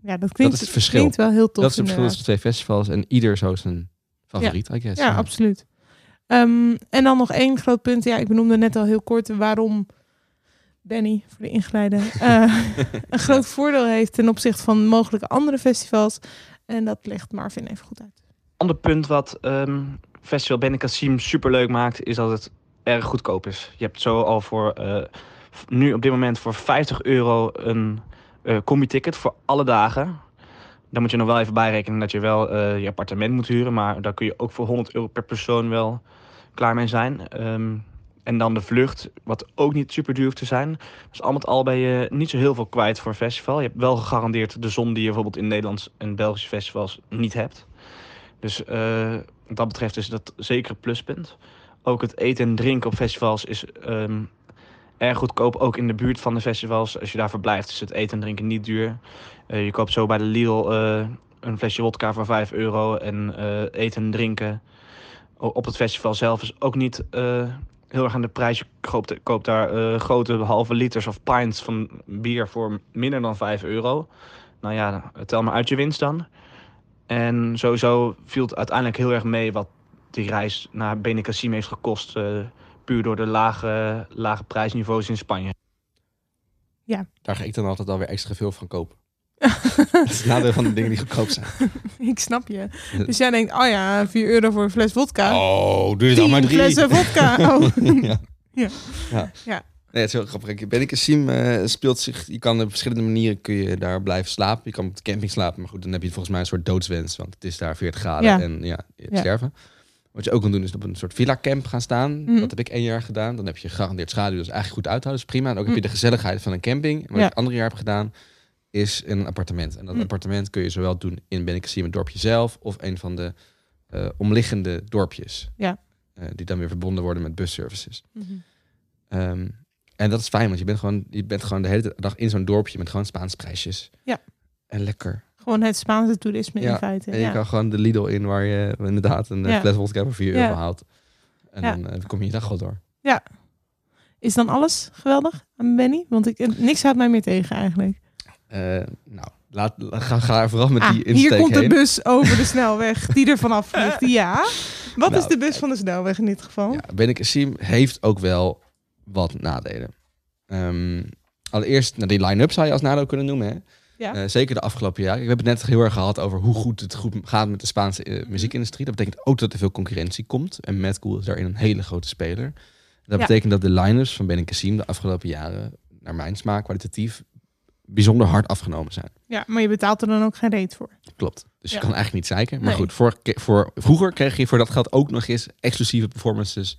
Ja, dat klinkt,
dat is het verschil.
klinkt wel heel tof.
dat is het verschil
inderdaad.
tussen de twee festivals. En ieder zo zijn favoriet, I guess.
Ja, absoluut. Ehm, en dan nog één groot punt. Ja, ik benoemde net al heel kort waarom Benny, voor de
[laughs]
ingeleide, eh, een groot voordeel heeft ten opzichte van mogelijke andere festivals. En dat legt Marvin even goed uit. [laughs]
ander punt wat ehm, Festival Ben Kassim superleuk maakt, is dat het erg goedkoop is. Je hebt zo al voor eh, f- nu op dit moment voor 50 euro een eh combi-ticket voor alle dagen. Dan moet je nog wel even bijrekenen dat je wel eh, je appartement moet huren, maar daar kun je ook voor 100 euro per persoon wel klaar mee zijn. Ehm, en dan de vlucht, wat ook niet super duur hoeft te zijn. Dus al met al ben je niet zo heel veel kwijt voor een festival. Je hebt wel gegarandeerd de zon die je bijvoorbeeld in Nederlands en Belgische festivals niet hebt. Dus eh, wat dat betreft is dat zeker een pluspunt. Ook het eten en drinken op festivals is ehm, erg goedkoop. Ook in de buurt van de festivals, als je daar verblijft, is het eten en drinken niet duur. Eh, je koopt zo bij de Lidl eh, een flesje wodka voor 5 euro. En eh, eten en drinken o- op het festival zelf is ook niet eh, heel erg aan de prijs. Je koopt, koopt daar eh, grote halve liters of pints van bier voor minder dan 5 euro. Nou ja, tel maar uit je winst dan. En sowieso viel het uiteindelijk heel erg mee wat die reis naar Benicassim heeft gekost. eh, puur door de lage, lage prijsniveaus in Spanje.
Daar ga ik dan altijd alweer extra veel van
[laughs]
kopen. dat is het nadeel van de dingen die goedkoop zijn.
Ik snap je. Dus jij denkt, oh ja, 4 euro voor een fles vodka.
Oh, doe je dan maar
Ah. Tien
drie.
flessen
[laughs]
vodka. Oh. [laughs]
ja.
Ja.
Ja.
Ja.
Nee, het is heel grappig. Benicassim eh speelt zich... Je kan op verschillende manieren kun je daar blijven slapen. Je kan op de camping slapen. Maar goed, dan heb je volgens mij een soort doodswens. Want het is daar 40 graden
Ja.
en ja, je
Ja.
sterven. Wat je ook kan doen is op een soort villa camp gaan staan.
Mhm.
Dat heb ik één jaar gedaan. Dan heb je gegarandeerd schaduw. Dat is eigenlijk goed uithouden. Dat is prima. En ook heb je
Mhm.
de gezelligheid van een camping. En wat
Ja.
ik het andere jaar heb gedaan is een appartement. En dat
Mhm.
appartement kun je zowel doen in Benicassim het dorpje zelf... of een van de eh, omliggende dorpjes.
Ja.
Eh, die dan weer verbonden worden met busservices.
Mhm.
Ehm, en dat is fijn, want je bent gewoon, je bent gewoon de hele dag in zo'n dorpje met gewoon Spaans prijsjes.
Ja.
En lekker.
Gewoon het Spaanse toerisme in feite.
en je
ja.
kan gewoon de Lidl in waar je inderdaad een eh,
Ja.
fles vodka voor 4
Ja.
euro haalt. En
Ja.
dan eh, kom je je dag wel door.
Ja. Is dan alles geweldig aan Benny? Want ik, eh, niks houdt mij meer tegen eigenlijk.
Eh, nou, laat, ga, ga er vooral met
Ah,
die insteek
hier komt de
heen.
bus over
[laughs]
de snelweg die er vanaf vliegt. Ja. Wat
Nou,
is de bus van de snelweg in dit geval?
Ben ik Sim heeft ook wel wat nadelen. Ehm, allereerst, nou, die line-up zou je als nadeel kunnen noemen. Hè?
Ja.
Eh, zeker de afgelopen jaren. Ik heb het net heel erg gehad over hoe goed het goed gaat met de Spaanse eh, muziekindustrie. Dat betekent ook dat er veel concurrentie komt. En Matt Cool is daarin een hele grote speler. Dat
Ja.
betekent dat de line-ups van Ben Sim de afgelopen jaren, naar mijn smaak, kwalitatief bijzonder hard afgenomen zijn.
Ja, maar je betaalt er dan ook geen reet voor.
Klopt. Dus
Ja.
je kan eigenlijk niet zeiken. Maar
Nee.
goed, vorige keer- voor, vroeger kreeg je voor dat geld ook nog eens exclusieve performances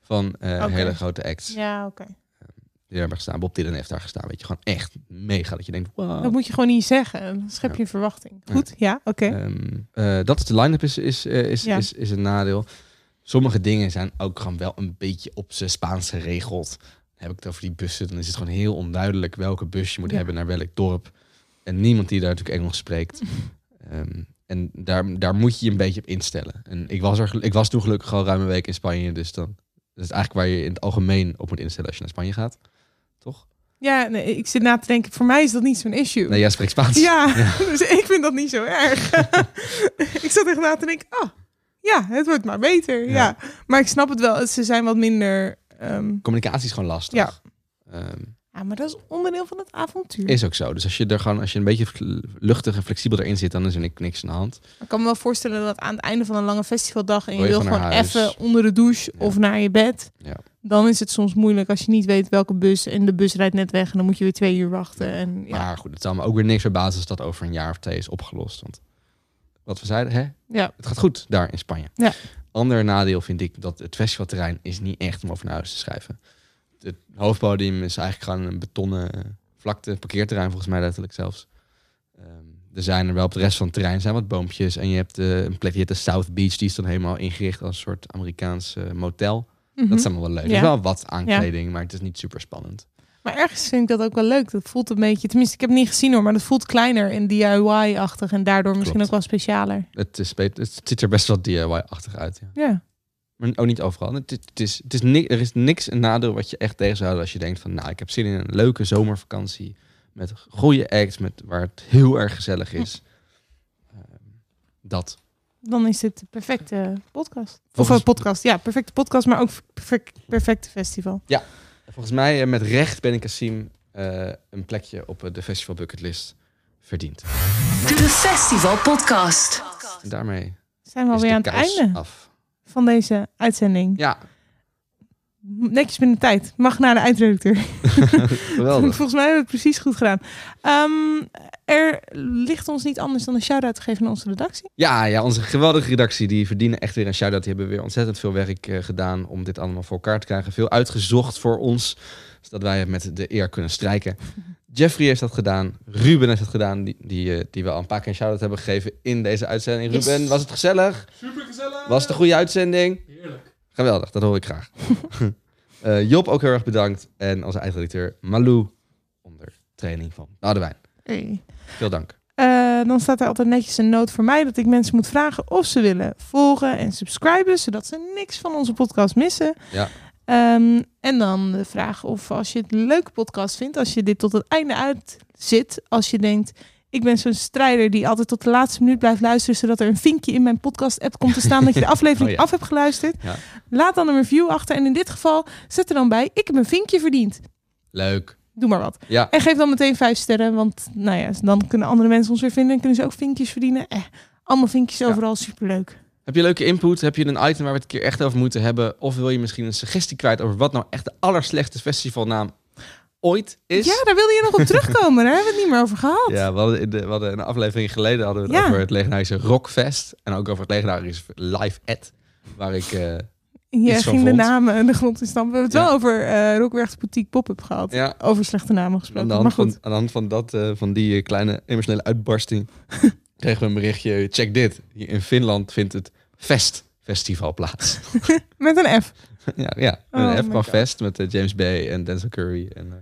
van eh,
Oké.
hele grote acts.
Ja, oké.
Die hebben gestaan. Bob Dylan heeft daar gestaan. Weet je, gewoon echt mega. Dat je denkt, wow.
Dat moet je gewoon niet zeggen. Dan schep je
Ah. Ja.
verwachting. Goed, ja, oké.
Ehm, eh, dat het de line-up is, is, eh, is,
Ja.
is, is een nadeel. Sommige dingen zijn ook gewoon wel een beetje op zijn Spaans geregeld. Dan heb ik het over die bussen, dan is het gewoon heel onduidelijk welke bus je moet
Ja.
hebben naar welk dorp. En niemand die daar natuurlijk Engels spreekt.
[laughs]
Ehm, en daar, daar moet je je een beetje op instellen. En ik was, er, gel- ik was toen gelukkig al ruim een week in Spanje, dus dan dat is eigenlijk waar je in het algemeen op moet instellen als je naar Spanje gaat.
Ja, nee, ik zit na te denken. Voor mij is dat niet zo'n issue.
Nee, jij spreekt Spaans.
Ja, [laughs] dus ik vind dat niet zo erg. [laughs] ik zat echt na te denken, oh, ja, het wordt maar beter. Ja. Maar ik snap het wel, ze zijn wat minder... ehm,
Communicatie is gewoon lastig.
ja.
Ehm,
ja, maar dat is onderdeel van het avontuur.
Is ook zo. Dus als je er gewoon, als je een beetje luchtig en flexibel erin zit, dan is er ni- niks aan de hand.
Ik kan me wel voorstellen dat aan het einde van een lange festivaldag... en je
Wil je
wil
gewoon
gewoon
naar huis.
even onder de douche of naar je bed...
Ja.
dan is het soms moeilijk als je niet weet welke bus... en de bus rijdt net weg en dan moet je weer twee uur wachten. En, ja.
Maar goed, het zal me ook weer niks verbazen als dat over een jaar of twee is opgelost. Want wat we zeiden, hè?
Ja.
Het gaat goed daar in Spanje.
Ja.
Ander nadeel vind ik dat het festivalterrein is niet echt om over naar huis te schrijven. Het hoofdpodium is eigenlijk gewoon een betonnen vlakte, parkeerterrein volgens mij letterlijk zelfs. Ehm, er zijn er wel op de rest van het terrein zijn wat boompjes. En je hebt eh, een plek, je hebt de South Beach, die is dan helemaal ingericht als een soort Amerikaans eh, motel.
Mhm.
Dat is allemaal wel leuk. Er
Ja.
is wel wat
Ja.
aankleding, maar het is niet super spannend.
Maar ergens vind ik dat ook wel leuk. Dat voelt een beetje, tenminste, ik heb het niet gezien hoor, maar dat voelt kleiner en DIY-achtig en daardoor misschien
Klopt.
ook wel specialer.
Het, is, be- het ziet er best wel DIY-achtig uit. Ja.
Ja.
Maar ook niet overal. Het, het is, het is ni- er is niks een nadeel wat je echt tegen zou houden als je denkt van... nou, ik heb zin in een leuke zomervakantie met goede acts, met, waar het heel erg gezellig is. Ehm, dat.
Dan is dit de perfecte podcast.
Volgens-
Of een podcast, ja, perfecte podcast, maar ook perfect, perfecte festival.
Ja, volgens mij eh, met recht ben ik Kasim eh, een plekje op eh, de Festival Bucketlist verdiend.
De Festival Podcast.
En daarmee
Zijn we
is
alweer
de
aan het
kous
einde
af.
van deze uitzending?
Ja.
Netjes binnen tijd. Mag naar de eindredacteur. [laughs]
Geweldig.
Volgens mij hebben we het precies goed gedaan. Ehm, er ligt ons niet anders dan een shout-out te geven aan onze redactie.
Ja, ja, onze geweldige redactie, die verdienen echt weer een shout-out. Die hebben weer ontzettend veel werk eh, gedaan om dit allemaal voor elkaar te krijgen. Veel uitgezocht voor ons, zodat wij het met de eer kunnen strijken. Jeffrey heeft dat gedaan, Ruben heeft dat gedaan, die, die, eh, die we al een paar keer een shout-out hebben gegeven in deze uitzending.
Yes.
Ruben, was het gezellig?
Supergezellig.
Was het een goede uitzending?
Heerlijk.
Geweldig, dat hoor ik graag. Eh, Job ook heel erg bedankt. En onze eindredacteur Malou, onder training van Boudewijn.
Hey.
Veel dank.
Eh, dan staat er altijd netjes een noot voor mij dat ik mensen moet vragen of ze willen volgen en subscriben, zodat ze niks van onze podcast missen.
Ja.
Ehm, en dan de vraag of als je het een leuke podcast vindt, als je dit tot het einde uit zit, als je denkt, ik ben zo'n strijder die altijd tot de laatste minuut blijft luisteren, zodat er een vinkje in mijn podcast-app komt te
[laughs]
staan dat je de aflevering
Oh ja.
af hebt geluisterd.
Ja.
Laat dan een review achter en in dit geval zet er dan bij, ik heb een vinkje verdiend.
Leuk.
Doe maar wat.
Ja.
En geef dan meteen vijf sterren, want nou ja, dan kunnen andere mensen ons weer vinden en kunnen ze ook vinkjes verdienen. Eh, allemaal vinkjes overal, superleuk.
Heb je leuke input? Heb je een item waar we het een keer echt over moeten hebben? Of wil je misschien een suggestie kwijt over wat nou echt de allerslechtste festivalnaam ooit is?
Ja, daar wilde je
[laughs]
nog op terugkomen, daar hebben we het niet meer over gehad.
Ja, we hadden, in de, we hadden een aflevering geleden hadden we het
Ja.
over het legendarische Rockfest. En ook over het legendarische Live Ad. Waar ik... eh,
Je
iets van
ging de
vond.
namen en de grond in stampen. We hebben het
Ja.
wel over eh Rockwergs Boutique Pop-Up gehad.
Ja.
Over slechte namen
aan,
gesproken.
de hand
Maar goed,
van, aan de hand van, dat, eh, van die eh, kleine emotionele
[laughs]
uitbarsting kregen we een berichtje. Check dit. Hier in Finland vindt het Fest Festival plaats. [laughs]
met een F.
ja, ja.
Oh
een F
my
van
God.
Fest met eh, James Bay en Denzel Curry. En, eh,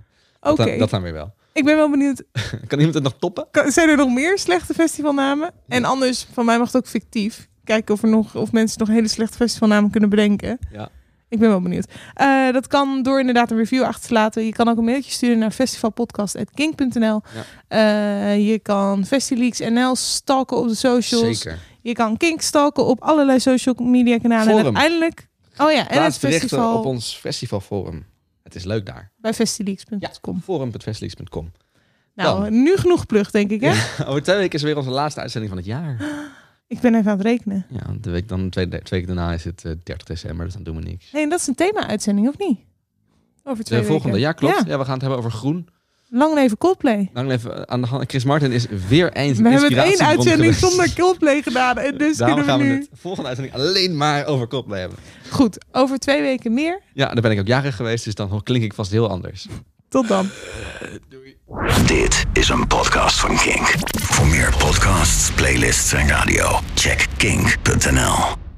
dat
Oké.
dan- Dat dan weer wel.
Ik ben wel benieuwd,
Kan iemand het nog toppen?
kan- zijn er nog meer slechte festivalnamen? En anders, van mij mag het ook fictief. Kijken of, er nog, of mensen nog hele slechte festivalnamen kunnen bedenken.
Ja.
Ik ben wel benieuwd. Eh, dat kan door inderdaad een review achter te laten. Je kan ook een mailtje sturen naar festivalpodcast.kink.nl. Eh, je kan Festileaks NL stalken op de socials.
Zeker.
Je kan Kink stalken op allerlei social media kanalen. En
Forum.
uiteindelijk... Oh ja, en het
Plaats berichten
festival
op ons festivalforum. Het is leuk daar.
bij festileaks.com.
Forum.festileaks.com.
nou,
dan.
nu genoeg plug, denk ik. Hè?
[laughs] Over twee weken is weer onze laatste uitzending van het jaar.
Ik ben even aan het rekenen.
Ja, de week dan, twee, twee weken daarna is het eh, 30 december, dus dan doen we niks.
Nee, dat is een thema-uitzending, of niet? Over twee
De volgende,
weken.
ja klopt. Ja. we gaan het hebben over groen.
Lang leven Coldplay.
Lang even aan de hand. Chris Martin is weer eens
We hebben het
inspiratiebron
één uitzending
geweest. [laughs]
zonder Coldplay gedaan. En dus
Daarom
kunnen
gaan
we
we
nu...
het volgende uitzending alleen maar over Coldplay hebben.
Goed, over twee weken meer.
Ja, dan ben ik ook jarig geweest, dus dan klink ik vast heel anders.
Tot dan.
Dit is een podcast van Kink. Voor meer podcasts, playlists en radio, check kink.nl.